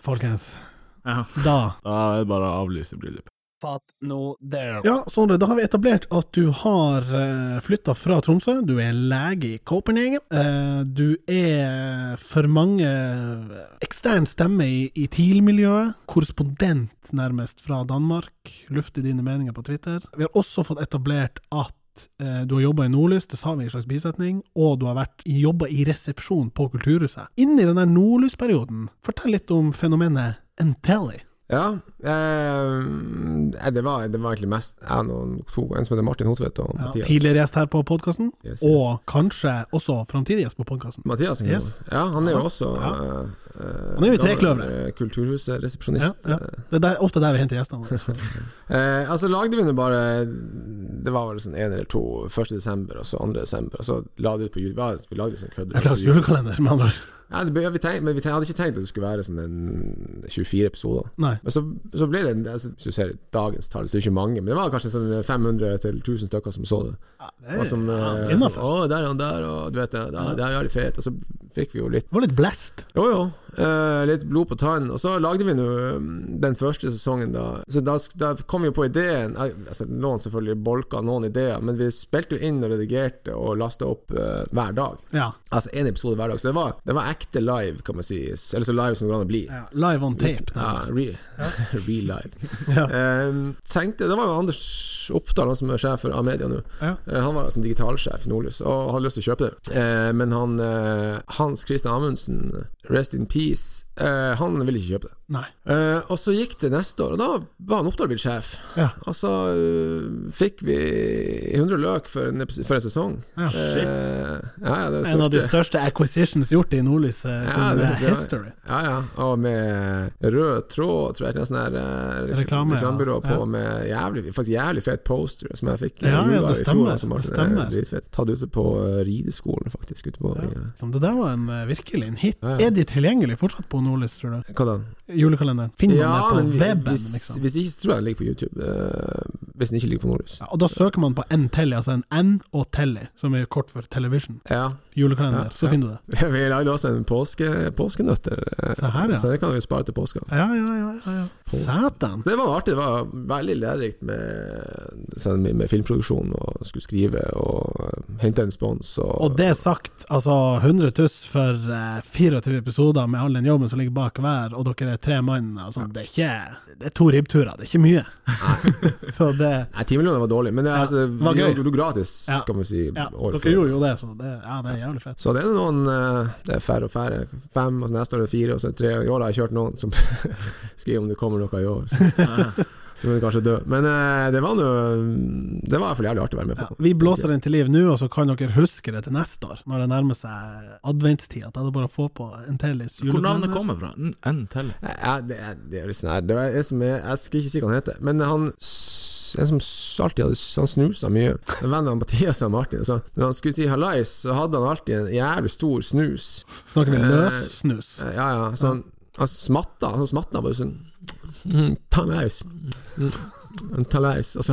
S3: folkens,
S2: Ja.
S3: da
S2: Da er det bare å avlyse bryllup.
S5: Fatt nå det.
S3: Ja, Sondre, da har vi etablert at du har uh, flytta fra Tromsø. Du er lege i Copenhagen. Eh, du er for mange eh, ekstern stemme i, i TIL-miljøet. Korrespondent, nærmest, fra Danmark. Lufter dine meninger på Twitter. Vi har også fått etablert at eh, du har jobba i Nordlys, det sa vi i en slags bisetning, og du har jobba i resepsjon på Kulturhuset. Inni den der Nordlysperioden, fortell litt om fenomenet Entelli.
S4: Ja, eh, nei, det, var, det var egentlig mest jeg og noen to, en som heter Martin Hotvedt og
S3: Ja,
S4: Mathias.
S3: tidligere gjest her på podkasten,
S4: Yes, yes.
S3: og kanskje også framtidig gjest på podkasten.
S4: Mathias er
S3: Yes.
S4: gammel. Ja, han er jo også
S3: Ja.
S4: eh,
S3: Han
S4: eh,
S3: er jo i
S4: gammel,
S3: Trekløveret.
S4: eh, Kulturhuset-resepsjonist.
S3: Ja, ja. Det er der, ofte der vi henter gjestene våre.
S4: Eh, altså lagde vi nå bare Det var vel sånn én eller to 1. desember og så 2. desember, og så la det ut på jul... hva, Vi lagde sånn kødd.
S3: Jeg lager julekalender, med andre ord.
S4: Ja, det, ble- vi tenkte, men vi tenkte, hadde ikke tenkt at det skulle være sånn en 24 episoder.
S3: Nei.
S4: Men så, så ble det en- altså, Hvis du ser dagens tall, så er det ikke mange, men det var kanskje sånn 500 til 1000 stykker som så det.
S3: det
S4: Og som, eh,
S3: innenfor.
S4: som, Å, der er han der, og du vet det, der, der er de fete. Og så fikk vi jo litt
S3: Det var litt blest.
S4: jo, jo. Eh, litt blod på tann. Og så lagde vi nå mm, den første sesongen, da. Så da, sk- da kom vi jo på ideen Eh, altså, Noen selvfølgelig bolka noen ideer, men vi spilte jo inn og redigerte og lasta opp eh, hver dag.
S3: Ja.
S4: Altså én episode hver dag. Så det var, det var ekte live, kan man si. S- Eller så live som det går an å bli.
S3: ja. Live on tape.
S4: Ja,
S3: nærmest.
S4: re, real live.
S3: Ja.
S4: Eh, tenkte, det var jo Anders Oppdal, han som er sjef for Amedia nå.
S3: Ja.
S4: Eh, han var som digitalsjef i Nordlys og hadde lyst til å kjøpe det. Eh, men han eh, Hans Christian Amundsen, rest in peace, eh, han ville ikke kjøpe det.
S3: Nei.
S4: Eh, og så gikk det neste år, og da var han Oppdal blitt sjef.
S3: Ja.
S4: Og så eh, fikk vi 100 løk for en, epis- for en sesong.
S3: Ja.
S2: Shit.
S4: Eh, ja, ja, det er det
S3: En av de
S4: største.
S3: største acquisitions gjort i Nordlys eh, sin
S4: Ja, det-
S3: eh,
S4: det var-
S3: history.
S4: Ja, ja. Og med rød tråd, tror jeg. En sånn her eh,
S3: Reklame, ja.
S4: reklamebyrå på
S3: Ja.
S4: med jævlig, faktisk jævlig fet poster som jeg fikk i
S3: Ja, ja,
S4: julegave
S3: det
S4: i
S3: stemmer,
S4: fjor. Som
S3: det
S4: Martin,
S3: stemmer.
S4: eh, Dritfett. Tatt ute på eh, rideskolen, faktisk. Ute på,
S3: Ja.
S4: i, eh,
S3: Som det der var en, eh, virkelig en hit.
S4: Ja, ja.
S3: Er de tilgjengelige fortsatt på Nordlys, tror du?
S4: Hva da?
S3: Julekalenderen. Finner man det på
S4: vi-
S3: weben,
S4: hvis,
S3: liksom?
S4: hvis ikke, så tror jeg den ligger på YouTube. eh, hvis den ikke ligger på Nordlys.
S3: Ja, og da søker man på N-Telly, altså en N og Telly, som er kort for television.
S4: Ja.
S3: Julekalender.
S4: Ja,
S3: Så
S4: ja.
S3: finner du det.
S4: Vi lagde også en påske, påskenøtter, eh,
S3: Se her, ja.
S4: så det kan vi jo spare til påska.
S3: Ja, ja, ja. ja, ja. Satan!
S4: Det var artig. Det var veldig lærerikt med, sånn med, med filmproduksjon, og skulle skrive og eh, hente en spons. Og,
S3: Og det sagt, altså 100 tuss for eh, 24 episoder med all den jobben som ligger bak hver, og dere er tre mann, og sånn, det er ikke Det er to ribbturer, det er ikke mye. så det
S4: Nei, 10 millioner var dårlig, men det,
S3: Ja,
S4: altså,
S3: det var
S4: vi
S3: gøy.
S4: gjorde det gratis,
S3: Ja.
S4: kan vi si.
S3: Ja,
S4: året
S3: dere
S4: før.
S3: gjorde jo det, så det, ja, det er er jævlig fett.
S4: Så det er noen eh, Det er færre og færre. Fem, og så neste år er det fire, og så er det tre. I år har jeg kjørt noen som skriver om det kommer noe i år. Så du kan kanskje dø. Men eh, det var nå Det var i hvert fall jævlig artig å være med
S3: Ja,
S4: på.
S3: vi blåser den til liv nå, og så kan dere huske det til neste år, når det nærmer seg adventstid. At det er bare å få på en Tellis
S2: Hvor navnet
S3: julekalender.
S2: kommer fra? N- En til.
S4: Ja, det, er- det er litt sånn her Det var en som er, Jeg skal ikke si hva han heter, men han s- en som s- alltid hadde s- Han snusa mye. En venn av Mathias og Martin. Så når han skulle si hallais, så hadde han alltid en jævlig stor snus.
S3: Snakker vi løssnus?
S4: Eh, Ja, ja. Så han, han smatta. Han smatta bare sånn mm, Tannlaus. Mm, tannlaus. Og så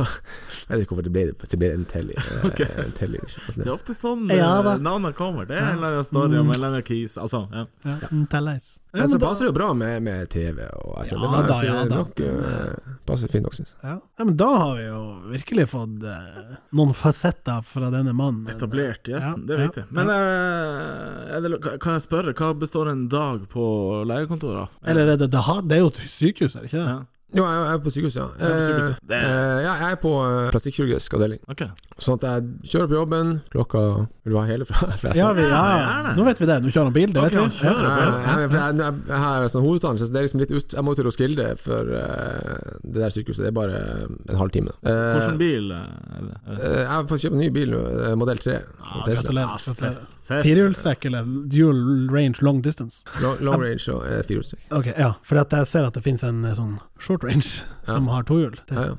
S4: Jeg vet ikke hvorfor det ble det. Det ble en telly. Eh, En Altså, telly.
S2: Det er ofte sånn
S3: Ja, da. Mm.
S2: eh, navnet kommer. Det er en eller annen story om en eller annen kis. Altså, ja.
S3: Ja, en Tellis. Ja, men
S4: Men så
S3: da,
S4: altså, passer det jo bra med, med TV og altså,
S3: Ja
S4: Det var
S3: da,
S4: altså
S3: ja da.
S4: nok eh, Passer fint nok, syns jeg.
S3: ja. ja, men da har vi jo virkelig fått eh, noen fasetter fra denne mannen.
S2: Etablert
S3: Ja,
S2: gjesten, det er
S3: ja,
S2: viktig. Men eh, er det, lo- kan jeg spørre, hva består en dag på legekontoret av?
S3: Eller er det det, ha- det er jo til sykehus, er det ikke det?
S2: ja.
S4: Jo, jeg jeg er på sykehus, ja.
S2: er på sykehuset.
S4: Eh,
S2: Det er-
S4: eh, ja, jeg er på eh, plastikkirurgisk avdeling.
S2: Ok.
S4: Sånn at jeg kjører på jobben klokka Vil du ha hele fra? forresten?
S3: Ja, vi, ja.
S2: gjerne.
S3: Nå vet vi det. Nå kjører han bil, det
S2: Ok,
S3: vet
S2: han
S3: vi.
S2: kjører.
S3: Ja.
S4: Ja, ja, ja, for jeg, jeg, jeg har sånn hovedutdannelse, så det er liksom litt ut Jeg må til Roskilde for eh, det der sykehuset. Det er bare en halvtime. da. Eh,
S2: Hvilken bil eh, er det? Er det?
S4: eh, jeg har fått kjøpt en ny bil nå, eh, modell 3.
S3: Ja,
S4: Tesla.
S3: gratulerer. gratulerer.
S2: Ah, seff, seff.
S3: Firehjulstrekk eller dual range long distance?
S4: Long, long range og eh, firehjulstrekk.
S3: Ok, ja, for at jeg ser at det finnes en eh, sånn short range som har to hjul. Det
S4: Ja,
S3: er
S4: ja.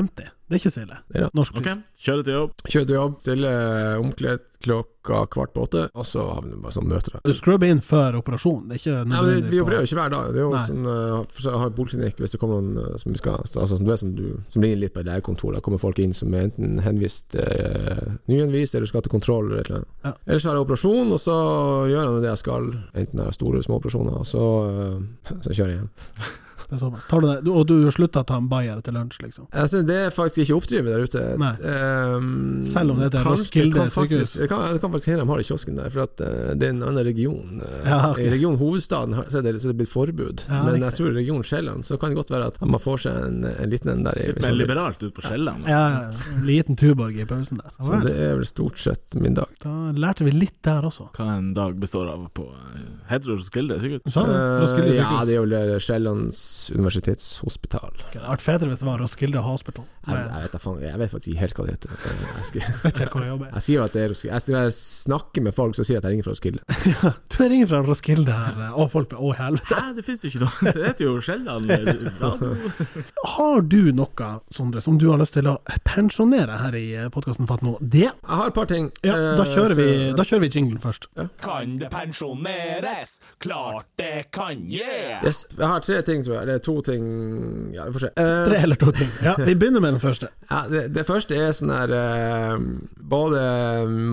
S3: 350. Det er ikke så ille.
S4: Ja.
S3: Norsk
S2: Ok,
S3: pris.
S2: kjører til jobb.
S4: Kjører til jobb, stiller eh, omkledd klokka kvart på åtte, og så har vi bare sånn møter. da.
S3: Du skrubber inn før operasjon. Det er ikke
S4: Ja, men
S3: nødvendig
S4: vi
S3: på-
S4: opererer jo ikke hver dag. Det er jo
S3: Nei.
S4: sånn, eh, for så har vi poliklinikk hvis det kommer noen eh, som vi skal så- altså, som Du vet sånn, du som ligner litt på et legekontor. Da kommer folk inn som er enten henvist eh, nyinnvist eller skal til kontroll eller et eller annet.
S3: Ja.
S4: Ellers har jeg operasjon, og så gjør jeg nå det jeg skal. Enten er det store eller små operasjoner, og så, eh, så kjører jeg hjem.
S3: Det er såpass. Tar du det? Du, og du slutta å ta en bayer til lunsj, liksom.
S4: Jeg synes det er faktisk ikke oppdrivet der ute.
S3: Nei.
S4: Ehm,
S3: Selv om det heter
S4: kanskje-
S3: Roskilde
S4: kan
S3: sykehus.
S4: faktisk- Det kan, det kan faktisk hende de har det i kiosken der, for at eh, det er en annen region. Eh,
S3: Ja, ok.
S4: I region hovedstaden har- så er det, så er det blitt forbud,
S3: Ja,
S4: men
S3: riktig.
S4: jeg tror i region Sjælland så kan det godt være at man får seg en, en liten en der. i- Liksom,
S2: Litt
S4: hvis
S2: mer
S4: man vil.
S2: liberalt ut på Sjælland.
S3: Ja, en liten Tuborg i pausen der. Ja,
S4: Så
S3: vel.
S4: det er vel stort sett min dag.
S3: Da lærte vi litt der også.
S2: Hva en dag består av på eh, Heter det Roskilde, sikkert?
S3: Du sa det?
S4: Eh,
S3: Roskilde
S4: ja, det
S3: sykehus.
S4: er jo det Sjællands universitetshospital.
S3: Ok, Det hadde vært fetere hvis det var Roskilde Hospital.
S4: Jeg,
S3: Nei,
S4: jeg, vet, da faen, jeg vet faktisk ikke helt hva det heter. Eh, Jeg skriver,
S3: Jeg vet ikke hvor jeg jobber.
S4: jeg skriver at det er Roskilde. Jeg, skriver- jeg snakker med folk som sier at jeg ringer fra Roskilde.
S3: Du ringer fra Roskilde her, eh, og folk blir Å, helvete.
S2: Hæ, det fins jo ikke noe! Det heter jo Sjælland eh, radio.
S3: Har du noe, Sondre, som du har lyst til å pensjonere her i podkasten Fatt nå? Det
S4: Jeg har et par ting.
S3: Ja, da
S4: eh,
S3: kjører vi,
S4: så- Eh.
S3: da kjører vi jinglen først.
S5: Kan det pensjoneres? Klart det kan, yeah!
S4: Yes, jeg har tre ting, tror jeg. Eller to ting Ja, vi får se. Eh,
S3: Tre eller to ting. Ja, Vi begynner med den første.
S4: ja, det, det første er sånn her eh, Både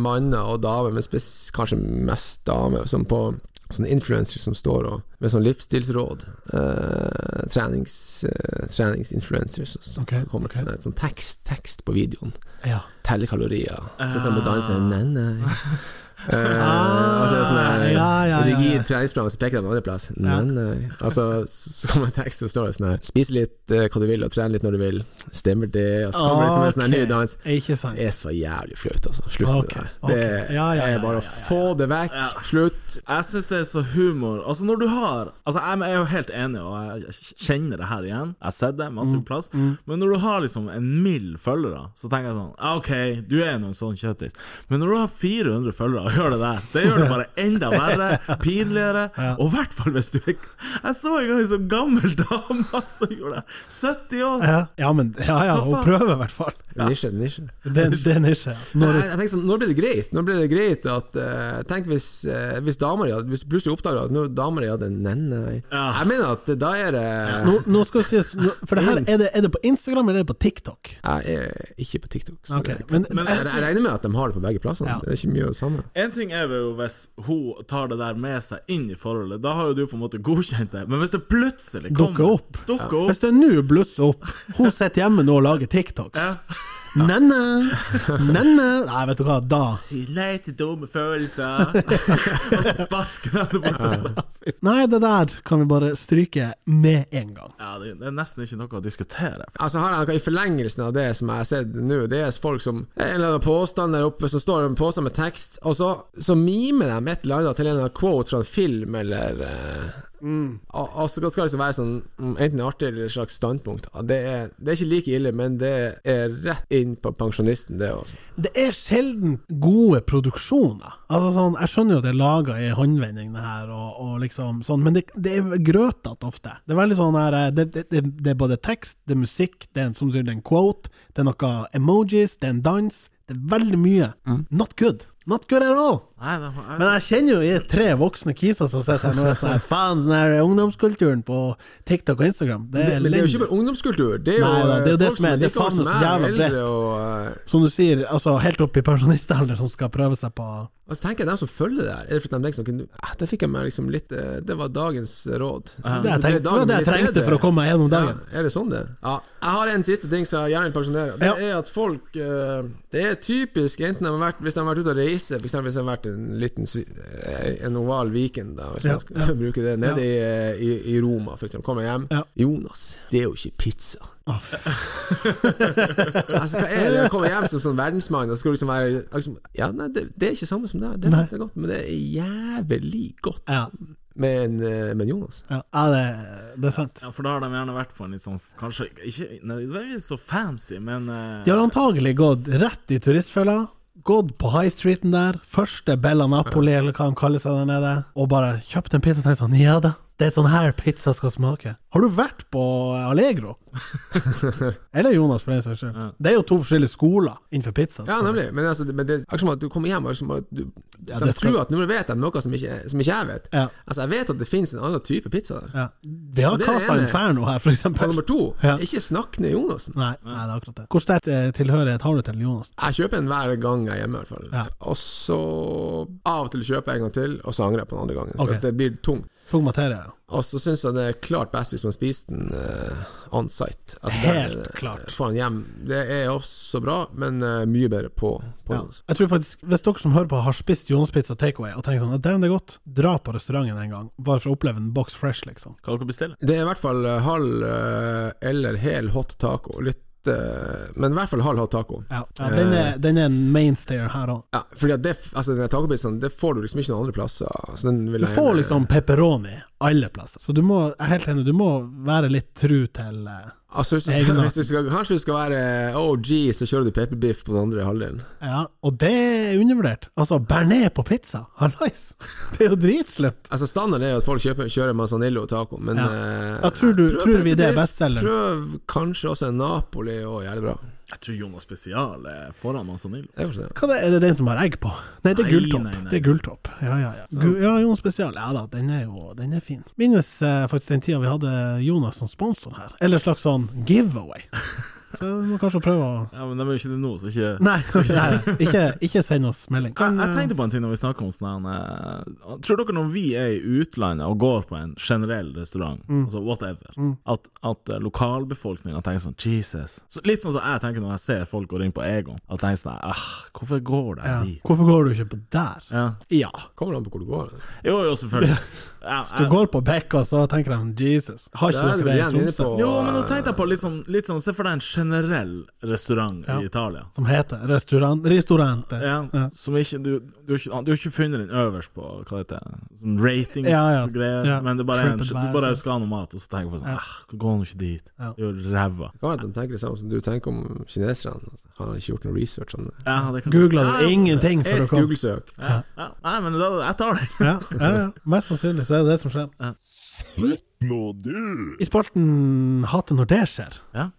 S4: manner og damer, men spes, kanskje mest damer, som på sånne influensere som står og med sånn livsstilsråd. Eh, trenings, eh, treningsinfluencers som- som
S3: Ok,
S4: kommer
S3: ok.
S4: til sånn, her, sånn tekst, tekst på videoen.
S3: Ja.
S4: Telle kalorier. Så sånn på dansen Nei, nei. Eh,
S3: Ah,
S4: altså sånn her
S3: ja, ja, ja, ja.
S4: rigid treningsprogram, så peker de en annen plass.
S3: Ja.
S4: Nei, nei. Altså, så kommer en tekst som står det sånn her Spis litt eh, hva du vil, og tren litt når du vil. Stemmer det? Og så kommer det liksom en sånn her ny
S3: Ok,
S4: dans.
S3: Ikke sant.
S4: Det er så jævlig flaut, altså. Slutt
S3: Ok,
S4: med det her.
S3: ok.
S4: Det
S3: Ja, ja, ja,
S4: er bare
S3: ja,
S4: å få det vekk.
S2: Ja.
S4: Slutt.
S2: Jeg syns det er så humor. Altså, når du har Altså, jeg jeg er jo helt enig, og jeg kjenner det her igjen. Jeg har sett det
S3: Mm,
S2: masse plass. Men når du har liksom en mild følgere, så tenker jeg sånn «Ah, OK, du er nå en sånn kjøttis. Men når du har 400 følgere og gjør det der, det gjør det bare enda verre, pinligere. Og i hvert fall hvis du er Jeg så en gang en sånn gammel dame som gjorde det. 70 år.
S3: Ja, ja, men ja, ja, hun
S2: faen?
S3: prøver i hvert fall.
S4: Nisje, nisje.
S3: Det er- det er nisje. ja. Når
S4: Nei, jeg tenker sånn, Når blir det greit? Når blir det greit at eh, Tenk hvis, uh, hvis damer hadde Hvis du plutselig oppdager at nå damer hadde en nenne
S2: Ja.
S4: Jeg mener at da er det
S3: nå, nå skal det sies nå- For det her, er det, er det på Instagram eller er det på TikTok?
S4: Jeg er ikke på TikTok, så
S3: Ok,
S4: det kan-
S3: men,
S2: Men-
S4: jeg, jeg regner med at de har det på begge plassene.
S3: Ja.
S4: Det er ikke mye av det samme.
S2: En ting er jo hvis hun tar det der med seg inn i forholdet, da har jo du på en måte godkjent det. Men hvis det plutselig kommer
S3: Dukker opp.
S2: Dukker opp
S3: hvis det nå blusser opp Hun sitter hjemme nå og lager TikToks. Nenne! Nenne! Nei, vet du hva, da
S2: Si nei til dumme følelser, og så sparker han det bort på staff.
S3: Nei, det der kan vi bare stryke med en gang.
S2: Ja, det det er nesten ikke noe å diskutere.
S4: Altså har jeg noe I forlengelsen av det som jeg har sett nå, det er folk som En eller annen påstand der oppe, så står det en påstand med tekst, og så, så mimer de et eller annet til en eller annen quote fra en film, eller eh, og, og så skal det liksom være sånn mm, Enten artig eller et slags standpunkt. Ja, Det er, det er ikke like ille, men det er rett inn på pensjonisten, det også.
S3: Det er sjelden gode produksjoner. Altså sånn, Jeg skjønner jo at det er laga i håndvending, det her, og, og liksom sånn, men det, det er grøtete ofte. Det er veldig sånn her eh, det, det, det, det er både tekst, det er musikk, det er en, som sier det er en quote, det er noe emojis, det er en dans. Det er veldig mye.
S4: Mm.
S3: Not good. Not good at all.
S2: Nei, det var,
S3: Men jeg kjenner jo jeg er tre voksne kiser som sitter her nå og er sånn her, Faen, den her ungdomskulturen på TikTok og Instagram, det er
S4: Men det er jo
S3: elendig.
S4: ikke bare ungdomskultur. Det er jo, eh,
S3: Nei, nei, det er jo det
S4: folk
S3: som er- det
S4: like gammel
S3: faen
S4: som
S3: så
S4: meg,
S3: jævla bredt.
S4: eldre og, eh,
S3: Som du sier, altså helt opp i pensjonistalder som skal prøve seg på
S4: Og så tenker jeg dem som følger det her, er det fordi de tenker sånn ah, Det fikk jeg meg liksom litt eh, Det var dagens råd.
S3: Det jeg tenkte- det var det jeg
S4: Dagen blir litt
S3: trengte for å
S4: bedre.
S3: komme meg gjennom dagen.
S4: Ja, er det sånn det er? Ja. Jeg har en siste ting som jeg gjerne vil pensjonere. Det
S3: Ja.
S4: er at folk eh, Det er typisk, enten de har vært, hvis de har vært ute og reise, f.eks. hvis de har vært en liten svi- eh, En oval weekend, da, hvis
S3: Ja,
S4: man skal bruke det, nede i, eh, i, i Roma, f.eks. Kommer hjem
S3: Ja.
S4: Jonas, det er jo ikke pizza.
S3: Å, fy
S4: Altså, hva er det å komme hjem som sånn verdensmann og skal liksom være liksom, Ja, nei, det, det er ikke samme som det her. Det
S3: Nei.
S4: er det er godt, men det er jævlig godt.
S3: Ja,
S4: med en, eh, med en Jonas.
S3: ja, ja det, det er sant.
S2: ja, for da har de gjerne vært på en litt sånn Kanskje ikke nødvendigvis så fancy, men eh,
S3: De har antagelig gått rett i turistfella, gått på high streeten der, første Bella Napoli, eller hva de kaller seg der nede, og bare kjøpt en pizza og tenkt sånn Ja da, det er sånn her pizza skal smake. Har du vært på Allegro? eller Jonas, for den saks skyld. Det er jo to forskjellige skoler innenfor pizza.
S4: Ja, nemlig. Men, altså, men det er akkurat som at du kommer hjem og liksom, at du,
S3: Ja,
S4: de
S3: det skal-
S4: tror at nå vet de noe som ikke, som ikke jeg vet.
S3: Ja.
S4: Altså, jeg vet at det finnes en annen type pizza der.
S3: Ja. Vi har
S4: Og det er
S3: Casa
S4: det ene.
S3: Inferno her, for
S4: Og
S3: eksempel.
S4: nummer to,
S3: Ja.
S4: ikke snakk ned Jonassen.
S3: Nei, nei, det er akkurat det. Hvor sterkt eh, tilhørighet har du til Jonas?
S4: Jeg kjøper en hver gang jeg er hjemme, i hvert fall.
S3: Ja.
S4: Og så av og til kjøper jeg en gang til, og så angrer jeg på den andre gangen.
S3: Ok.
S4: For at det blir tungt.
S3: Tung materie, ja.
S4: Og så syns jeg det er klart best hvis man spiser den eh, on site. Altså,
S3: Helt
S4: der, eh,
S3: klart.
S4: Får den hjem. Det er også bra, men eh, mye bedre på, på
S3: Ja.
S4: Jonas.
S3: Jeg tror faktisk, Hvis dere som hører på har spist Jonas-pizza takeaway og tenker sånn at «Damn, det er godt, dra på restauranten en gang, bare for å oppleve en box fresh, liksom.
S2: Hva dere bestiller
S4: Det er i hvert fall eh, halv eh, eller hel hot taco. Litt eh, Men i hvert fall halv hot taco.
S3: Ja, ja den,
S4: Eh.
S3: er, den er en mainstayer her òg.
S4: Ja, fordi at det, altså den tacopizzaen Det får du liksom ikke noen andre plasser. Så den vil
S3: Du
S4: jeg
S3: får
S4: gjerne-
S3: liksom pepperoni alle plasser, så du må jeg er helt enig, du må være litt tru til eh,
S4: altså, hvis du
S3: Egen
S4: skal, hvis du skal, Kanskje du skal være OG, så kjører du pepperbiff på den andre halvdelen.
S3: Ja, og det er undervurdert. Altså, bearnés på pizza, hallais! Det er jo dritslemt.
S4: Altså Standarden er jo at folk kjøper, kjører Manzanillo taco, men
S3: Ja.
S4: eh,
S3: Jeg tror du-
S4: prøv
S3: tror vi det er
S4: pepperbiff,
S3: bestselgeren.
S4: Prøv kanskje også en Napoli og jævlig bra.
S2: Jeg tror Jonas Spesial er foran Manzanillo.
S4: Det er kanskje det.
S3: Hva det, er det den som har egg på? Nei, det er
S2: Nei,
S3: gulltopp.
S2: nei, nei.
S3: Det er gulltopp. Ja, ja, ja. Gu ja Jon Spesial. Ja da, den er jo den er fin. Minnes eh, faktisk den tida vi hadde Jonas som sponsor her. Eller en slags sånn giveaway. Så vi må kanskje prøve å
S2: Ja, Men de er jo ikke det nå, så ikke
S3: Nei, nei ikke, ikke send oss melding.
S2: jeg, jeg tenkte på en ting når vi snakker om sånn her, eh, Tror dere når vi er i utlandet og går på en generell restaurant,
S3: Mm.
S2: altså whatever, at, at lokalbefolkninga tenker sånn Jesus så Litt sånn som jeg tenker når jeg ser folk gå inn på Egon, at jeg tenker sånn ah, Hvorfor går de
S3: ja.
S2: dit?
S3: Hvorfor går du ikke på der?
S2: Ja.
S3: Ja.
S4: Kommer an på hvor du går.
S2: Jo, jo, selvfølgelig. Ja,
S3: Du
S2: jeg-
S3: går på Bekka, så tenker de Jesus, har
S4: Der er
S3: ikke
S4: vi
S3: dere det i
S4: igjen inne
S3: Tromsø?
S4: på-
S2: jo, men nå tenkte jeg på litt sånn, litt sånn Se for deg en generell restaurant
S3: Ja.
S2: i Italia.
S3: Som heter restaurant, Restaurante.
S2: Ja,
S3: Ja.
S2: Som ikke du, du, har ikke, du har ikke funnet den øverst på hva heter det, sånn ratings
S3: Ja, ja.
S2: greier
S3: Ja.
S2: Men det er bare en, du
S3: TripAdvisor.
S2: bare skal ha noe mat, og så tenker du på sånn
S3: Ja.
S2: ah, Gå nå ikke dit.
S3: Ja.
S2: Det er jo ræva.
S4: eh, Hva er det de tenker det samme som du tenker om kineserne? Altså, har han ikke gjort noe research om det?
S2: Ja, det kan
S3: Googla du ingenting for å
S4: Et
S3: komme?
S4: Google-søk.
S2: Ja, Nei, men da, jeg tar det.
S3: Ja, ja, ja. Mest sannsynlig så er det det som skjer. I spalten Hate når det skjer.
S2: Ja.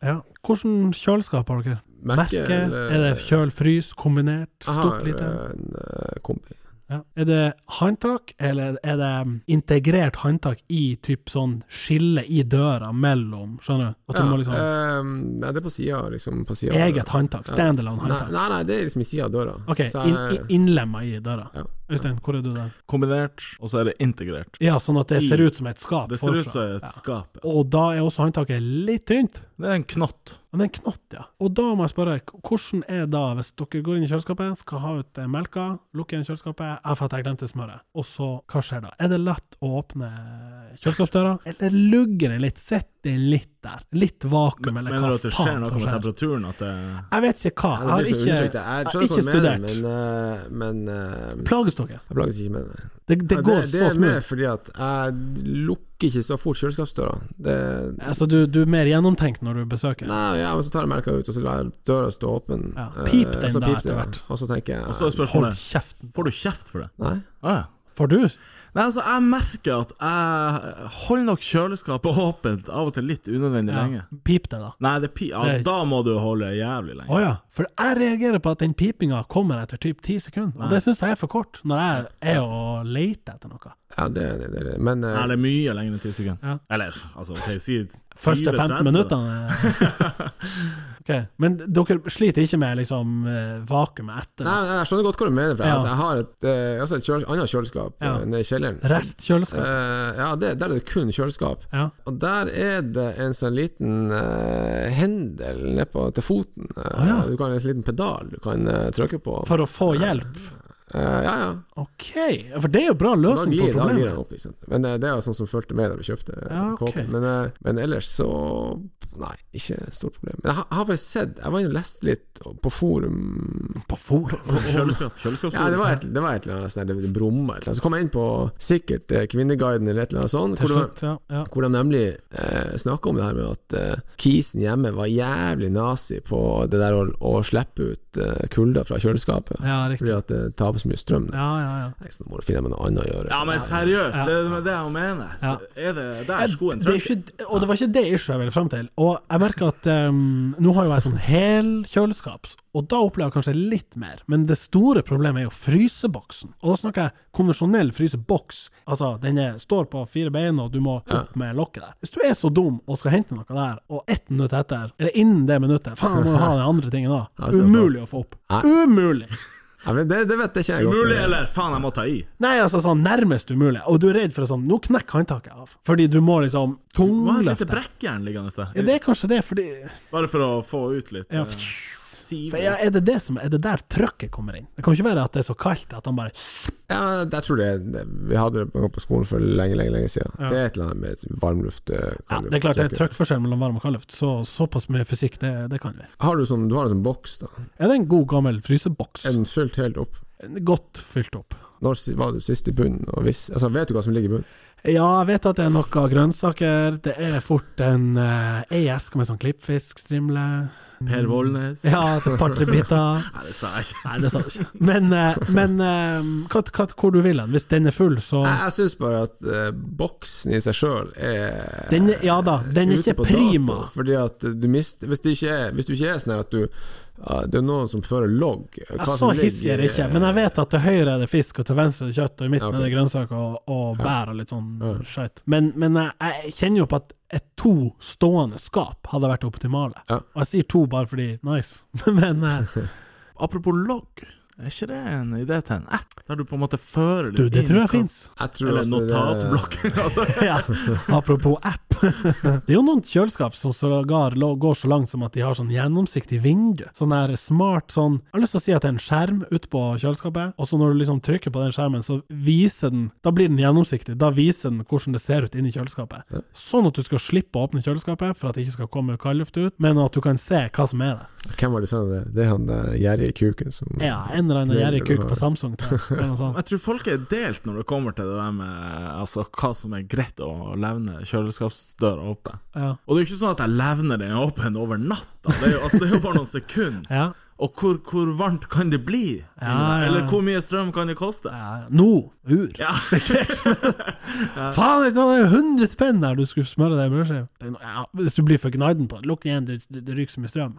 S3: Hvordan kjøleskap har dere? Merke?
S4: eller-
S3: Er det kjøl-frys kombinert?
S4: Jeg
S3: Stort,
S4: har
S3: lite?
S4: eh, en eh, kombi.
S3: Ja. Er det håndtak, eller er det um, integrert håndtak i typ sånn skille i døra mellom, skjønner du? At du
S4: Ja,
S3: må liksom
S4: eh, nei, det er på sida, liksom. På siden av døra.
S3: Eget håndtak, standalone
S4: Nei,
S3: håndtak.
S4: nei, nei, det er liksom i sida av døra.
S3: Ok,
S4: Så
S3: inn-
S4: jeg-
S3: i- innlemma i døra.
S4: ja.
S3: Øystein, hvor er du der?
S2: Kombinert, og så er det integrert.
S3: Ja, sånn at det
S2: I-
S3: ser ut som et skap.
S2: Det ser ut
S3: forfra.
S2: som et
S3: Ja.
S2: skap. ja.
S3: Og da er også håndtaket litt tynt.
S2: Det er en knott.
S3: Men det er en knott, ja. Og da må jeg spørre, k- hvordan er da, hvis dere går inn i kjøleskapet, skal ha ut eh, melka, lukke igjen kjøleskapet, jeg fatter jeg glemte smøret, og så, hva skjer da? Er det lett å åpne eh, kjøleskapsdøra, eller lugger det litt, sitter det litt der? Litt
S2: Men-
S3: vakuum, eller
S2: Mener du
S3: hva
S2: at det skjer
S3: faen
S2: noe
S3: som
S2: med
S3: skjer?
S2: temperaturen? At det
S3: Jeg vet ikke hva,
S4: Ja,
S3: jeg
S4: det
S3: har
S4: blir så
S3: ikke,
S4: undertrykt. Jeg
S3: jeg
S4: skjønner
S3: har
S4: hva
S3: ikke
S4: du mener,
S3: studert.
S4: men, eh, men eh,
S3: Plages dere?
S4: Jeg plages ikke med det.
S3: Det, det
S4: Ja,
S3: går
S4: det, det
S3: så
S4: er mer
S3: smooth.
S4: fordi at jeg lukker ikke så fort kjøleskapsdøra. Det
S3: Altså, du, du er mer gjennomtenkt når du besøker?
S4: Nei, ja, men så tar jeg melka ut, og så lar jeg døra stå åpen.
S3: Ja,
S4: Eh,
S3: pip den
S4: så
S3: da
S4: piper det,
S3: etter
S4: ja.
S3: hvert.
S4: Og så tenker jeg
S2: Og så er
S3: Hold
S2: spørsmålet
S3: kjeften.
S2: Får du kjeft for det?
S4: Nei.
S2: Ah, ja.
S3: Får du?
S2: Nei, altså, jeg merker at jeg holder nok kjøleskapet åpent av og til litt unødvendig
S3: Ja.
S2: lenge.
S3: Pip det da.
S2: Nei, det er pi... Ja,
S3: Det-
S2: da må du holde jævlig
S3: Å
S2: lenge.
S3: ja. For jeg reagerer på at den pipinga kommer etter typ ti sekunder, og det syns jeg er for kort, når jeg er og leter etter noe.
S4: Ja, det, det, det, det. Men eh,
S2: Nei, det er mye lenger enn 10 sekunder.
S3: Ja.
S2: Eller, altså, OK, si 20-30.
S3: Første 15 minuttene Ok, Men dere sliter ikke med liksom eh, vakuumet etter?
S4: Nei, nei, jeg skjønner godt hva du mener. For jeg,
S3: Ja.
S4: altså, jeg har et, eh, også et kjøles, annet kjøleskap
S3: Ja.
S4: eh, nede i kjelleren.
S3: Restkjøleskap?
S4: Eh, ja, det, der er det kun kjøleskap.
S3: Ja.
S4: Og der er det en sånn liten eh, hendel nedpå til foten. Eh,
S3: Å, ja.
S4: Du kan En sånn liten pedal du kan eh, trykke på.
S3: For å få hjelp?
S4: Eh, ja, ja.
S3: Ok, for det er jo bra
S4: Da
S3: løsning på
S4: glir, da glir
S3: problemet.
S4: den opp, ikke sant. Men eh, det er jo sånn som fulgte med da vi kjøpte eh,
S3: Ja, ok.
S4: kåpen. Men, eh, men ellers så Nei, ikke et stort problem. Men jeg har- jeg har faktisk sett Jeg var inne og leste litt på forum
S3: På forum?
S2: Kjøleskap. Kjøleskap.
S4: Ja, det var et, det var et eller annet sånn der, det brumma et eller annet. Så kom jeg inn på sikkert eh, Kvinneguiden eller et eller annet sånt.
S3: Til
S4: Hvor det var
S3: slutt, ja. ja.
S4: hvor de nemlig eh, snakka om det her med at eh, kisen hjemme var jævlig nazi på det der å, å slippe ut eh, kulda fra kjøleskapet.
S3: Ja,
S4: Fordi
S3: riktig.
S4: at det taper så mye strøm.
S3: Ja, ja, ja.
S4: Nei, så nå må du finne meg noe annet å gjøre.
S2: Ja, men seriøst,
S3: Ja.
S2: det er det jeg mener.
S3: Ja.
S2: Er det der skoen
S3: det er
S2: trykker?
S3: ikke, og det var ikke det issue jeg ville fram til. Og jeg merker at ehm, nå har jo jeg sånn hel kjøleskap, og da opplever jeg kanskje litt mer. Men det store problemet er jo fryseboksen. Og da snakker jeg konvensjonell fryseboks. Altså, den er, står på fire bein, og du må opp med lokket der. Hvis du er så dum og skal hente noe der, og ett minutt etter, eller innen det minuttet Faen, jeg må jo ha den andre tingen da.
S4: Ja, så
S3: Umulig å få opp.
S4: Nei.
S3: Umulig!
S4: Ja, men det, det vet jeg ikke jeg
S2: Umulig,
S4: godt. eh.
S2: eller? Faen, jeg må ta i.
S3: Nei, altså sånn nærmest umulig. Og du er redd for sånn Nå knekker håndtaket av. Fordi du må liksom
S2: Du må ha et lite
S3: tungløfte.
S2: brekkjern liggende
S3: Ja,
S2: sted.
S3: det er kanskje det, fordi
S2: Bare for å få ut litt
S3: Ja.
S2: eh, siv.
S3: For ja, er, det det som, er det der trøkket kommer inn? Det kan jo ikke være at det er så kaldt at han bare
S4: Ja, jeg tror det, det Vi hadde det på- på skolen for lenge, lenge lenge siden.
S3: Ja.
S4: Det er et eller annet med et varmluft eh,
S3: Ja,
S4: kaldluft-
S3: det er klart det er
S4: trykker.
S3: trøkkforskjell mellom varm og kaldluft, så såpass mye fysikk, det, det kan vi.
S4: Har du, sånn, du har en sånn boks, da.
S3: Er det en god gammel fryseboks?
S4: Er den fylt helt opp?
S3: Godt fylt opp.
S4: Når si- var du sist i bunnen? Og hvis, altså, vet du hva som ligger i bunnen?
S3: Ja, jeg vet at det er noe grønnsaker, det er fort en eh, ei eske med sånn klippfiskstrimle
S2: Per Vollnes.
S3: Ja, et par-tre biter.
S2: Nei, det sa jeg ikke.
S3: Nei, det sa du ikke. Men, eh, men eh, hva, hva, hvor du vil hen? Hvis den er full, så
S4: Jeg, jeg syns bare at eh, boksen i seg sjøl er
S3: den, er- Ja da, den er
S4: ute
S3: ikke
S4: på dato,
S3: prima.
S4: fordi at du mist, hvis, det ikke er, hvis du ikke er sånn her at du ja, Det er noen som fører logg. hva
S3: Jeg så
S4: som ligger
S3: hissig er det
S4: i-
S3: ikke, men jeg vet at til høyre er det fisk, og til venstre er det kjøtt, og i midten
S4: Ja, ok.
S3: er det grønnsaker og, og bær og litt sånn
S4: Ja.
S3: skjøt. Men, men jeg, jeg kjenner jo på at et to stående skap hadde vært optimale.
S4: Ja.
S3: Og jeg sier to bare fordi nice, men eh,
S2: Apropos logg, er ikke det en idé til en app? Der du på en måte fører litt
S3: du, det
S2: inn
S3: tror jeg
S2: hva-
S3: fins.
S4: Jeg tror
S2: Eller
S4: altså det-
S2: notatblokk. Altså.
S3: Ja, apropos app. Det er jo noen kjøleskap som sågar lå- går så langt som at de har sånn gjennomsiktig vindu. Sånn der smart sånn Jeg har lyst til å si at det er en skjerm ute på kjøleskapet, og så når du liksom trykker på den skjermen, så viser den Da blir den gjennomsiktig. Da viser den hvordan det ser ut inni kjøleskapet. Sånn at du skal slippe å åpne kjøleskapet for at det ikke skal komme kaldluft ut, men at du kan se hva som er der.
S4: Hvem var det som sa det? Det er han der gjerrige kuken som
S3: Ja, en eller annen gjerrig kuk på Samsung. tror jeg, Eller noe sånt.
S2: Jeg tror folk er delt når det kommer til det der med altså, hva som er greit å levne kjøleskapsdøra åpen.
S3: Ja.
S2: Og det er jo ikke sånn at jeg levner den åpen over natta, det er jo, altså, det er jo bare noen sekunder.
S3: Ja.
S2: Og hvor, hvor varmt kan det bli?
S3: ja, ja.
S2: Eller hvor mye strøm kan det koste?
S3: Ja, Eh, Nå! Ur!
S2: Ja.
S3: Faen, det var 100 spenn der du skulle smøre deg i brødskive. Det er no- Ja, hvis du blir for gnaiden på det, lukk igjen, det, det, det ryker så mye strøm.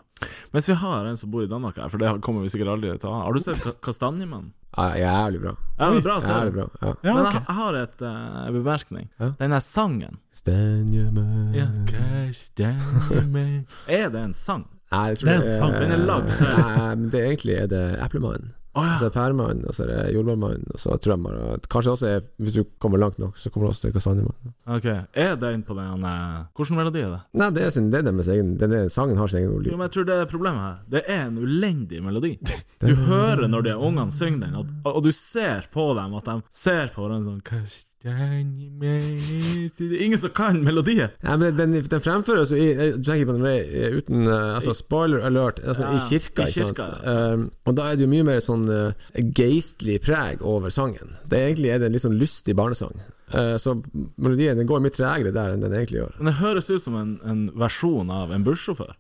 S2: Mens vi har en som bor i Danmark her, for det kommer vi sikkert aldri til å ha. Har du sett Ka- Kastanjemannen?
S4: ja, Jævlig bra.
S2: Ja, det er bra,
S3: Altså-
S2: ser
S4: Jævlig
S2: du.
S4: bra. Ja.
S3: Ja,
S2: Men ah, jeg,
S3: ok.
S2: jeg har et eh, bemerkning.
S4: Ja.
S2: Den der sangen
S4: Stenjemann
S2: ja. Kastanjemann. Er det en sang?
S4: Nei, jeg tror
S3: Det er en sang.
S2: Den er lagd.
S4: Nei, men det egentlig er det Eplemann.
S2: Å Å
S4: Så
S2: ja.
S4: er det pærmann, og så er det jordbærmann, og så tror jeg bare at Kanskje det også er, hvis du kommer langt nok, så kommer det også til kastanjemann.
S2: Ok. Er den på den eh, Hvordan melodi er det?
S4: Nei, det er, sin, det er deres egen den er, Sangen har sin egen
S2: Jo,
S4: ordlyd.
S2: men jeg tror det er problemet her. Det er en ulendig melodi. Du hører når de ungene synger den, at, og du ser på dem at de ser på hverandre sånn «Kastanjemeis». Det er ingen som kan melodien!
S4: Nei, men den, den fremføres jo i Jeg tenker på den eh, uten eh, Altså, spoiler alert, altså,
S2: Ja,
S4: i kirka,
S2: i
S4: ikke sant?
S2: kirka,
S4: Um, og da er det jo mye mer sånn eh, geistlig preg over sangen. Det er Egentlig er det en litt sånn lystig barnesang. Eh, så melodien den går mye tregere der enn den egentlig gjør.
S2: Men det høres ut som en, en versjon av en bussjåfør.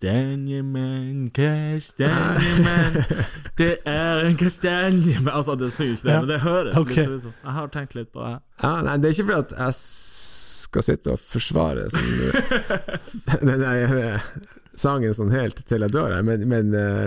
S2: Kastanjemenn, kastanjemenn Det er en kastanjemenn Altså, det synger ikke det,
S3: Ja.
S2: men det høres
S3: Ok.
S2: litt sånn ut. Jeg har tenkt litt på det.
S4: Ja, nei, det er ikke fordi at jeg skal sitte og forsvare sånn, den der eh, sangen sånn helt til jeg dør her, men, men eh,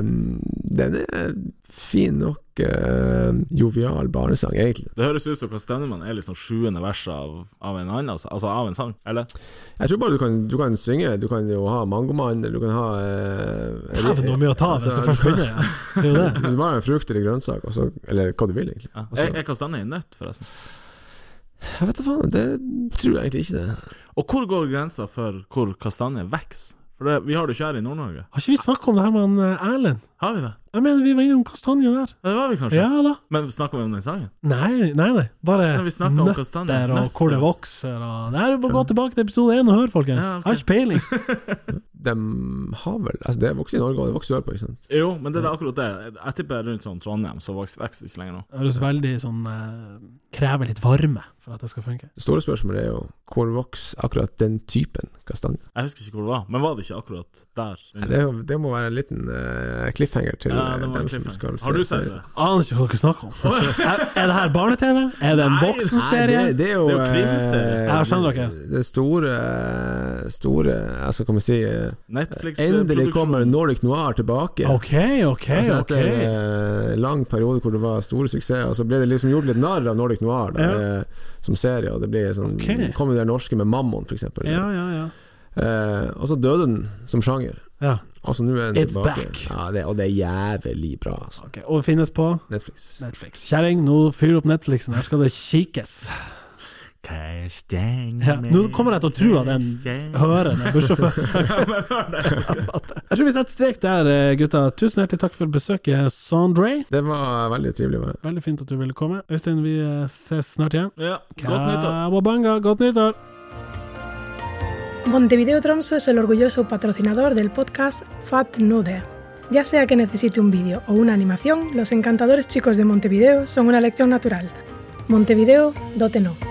S4: den er fin nok eh, jovial barnesang, egentlig.
S2: Det høres ut som Kastanjemenn er liksom sjuende vers av, av en annen, altså, altså av en sang, eller?
S4: Jeg tror bare du kan, du kan synge. Du kan jo ha Mangomann, eller du kan ha eh,
S3: Dæven, det var mye å ta hvis
S4: Altså,
S3: du først
S4: du kan-
S3: begynner. Ja. Det er jo det.
S4: Du må bare ha en frukt eller grønnsak, og så, eller hva du vil, egentlig.
S2: Ja.
S4: Og så-
S2: Er, er kastanje en nøtt, forresten?
S4: Jeg vet da faen, det tror jeg egentlig ikke det.
S2: Og hvor går grensa for hvor kastanje vokser? For det, vi har det ikke her i Nord-Norge.
S3: Har ikke vi snakket om det her med han eh, Erlend?
S2: Har vi det?
S3: Jeg mener, vi var innom kastanje der.
S2: Ja, Det var vi kanskje.
S3: Ja da.
S2: Men snakker vi om den sangen?
S3: Nei, nei, nei. Bare
S2: Nei, vi snakket om kastanje.
S3: nøtter og hvor det
S2: Nøtter.
S3: vokser og Nei, du må gå tilbake til episode én og høre, folkens.
S2: Ja, ok.
S3: Har ikke peiling.
S4: De har vel Altså, det vokser i Norge, og det vokser sørpå, ikke sant.
S2: Jo, men det er akkurat det. Jeg tipper rundt sånn Trondheim, så vokser vokser det ikke lenger nå.
S3: Det høres veldig sånn eh, Krever litt varme for at det skal funke.
S4: Det store spørsmålet er jo hvor vokser akkurat den typen kastanje?
S2: Jeg husker ikke hvor det var, men var det ikke akkurat der?
S4: Nei, Det, er jo- det må være en liten eh, cliffhanger til
S2: Ja, det
S4: eh,
S2: var
S4: dem
S2: en
S4: som skal
S2: cliffhanger.
S4: se
S2: Har du sett
S4: serien.
S2: det?
S3: Aner ikke hva dere snakker om. Er, er det her barne-TV? Er det en
S2: Nei,
S4: Nei,
S3: voksenserie?
S4: det, det er jo
S2: Det er jo krimserie.
S4: eh,
S3: Ja, skjønner dere.
S4: Det, det store, store Altså, kan man si eh, Endelig
S2: Netflix-produksjon.
S4: kommer Nordic Noir tilbake.
S3: OK, OK,
S4: altså
S3: OK.
S4: Etter en eh, lang periode hvor det var store suksesser, så ble det liksom gjort litt narr av Nordic Noir da,
S3: Ja.
S4: eh, som serie. Og det ble sånn
S3: Ok.
S4: Kom jo det norske med Mammon, f.eks.
S3: Ja, ja, ja.
S4: Eh, og så døde den som sjanger.
S3: ja.
S4: Altså nå er den
S3: It's
S4: tilbake.
S3: back.
S4: Ja, det, og det er jævlig bra, altså.
S3: Ok, Og finnes på
S4: Netflix.
S3: Netflix. Kjerring, nå fyr opp Netflixen, her skal det kikkes. Ja. Nå kommer jeg til å tro at den hører den bussjåføren. Jeg tror vi setter strek der, eh, gutta. Tusen hjertelig takk for besøket, Sondre.
S4: Det var veldig trivelig å være her.
S3: Veldig fint at du ville komme. Øystein, vi eh, ses snart igjen.
S2: Ja, godt nyttår.
S3: Kawabanga, godt nyttår!
S1: Montevideo Tromso es el orgulloso patrocinador del podcast Fat Nude. Ya sea que necesite un vídeo o una animación, los encantadores chicos de Montevideo son una elección natural. Montevideo, dote no.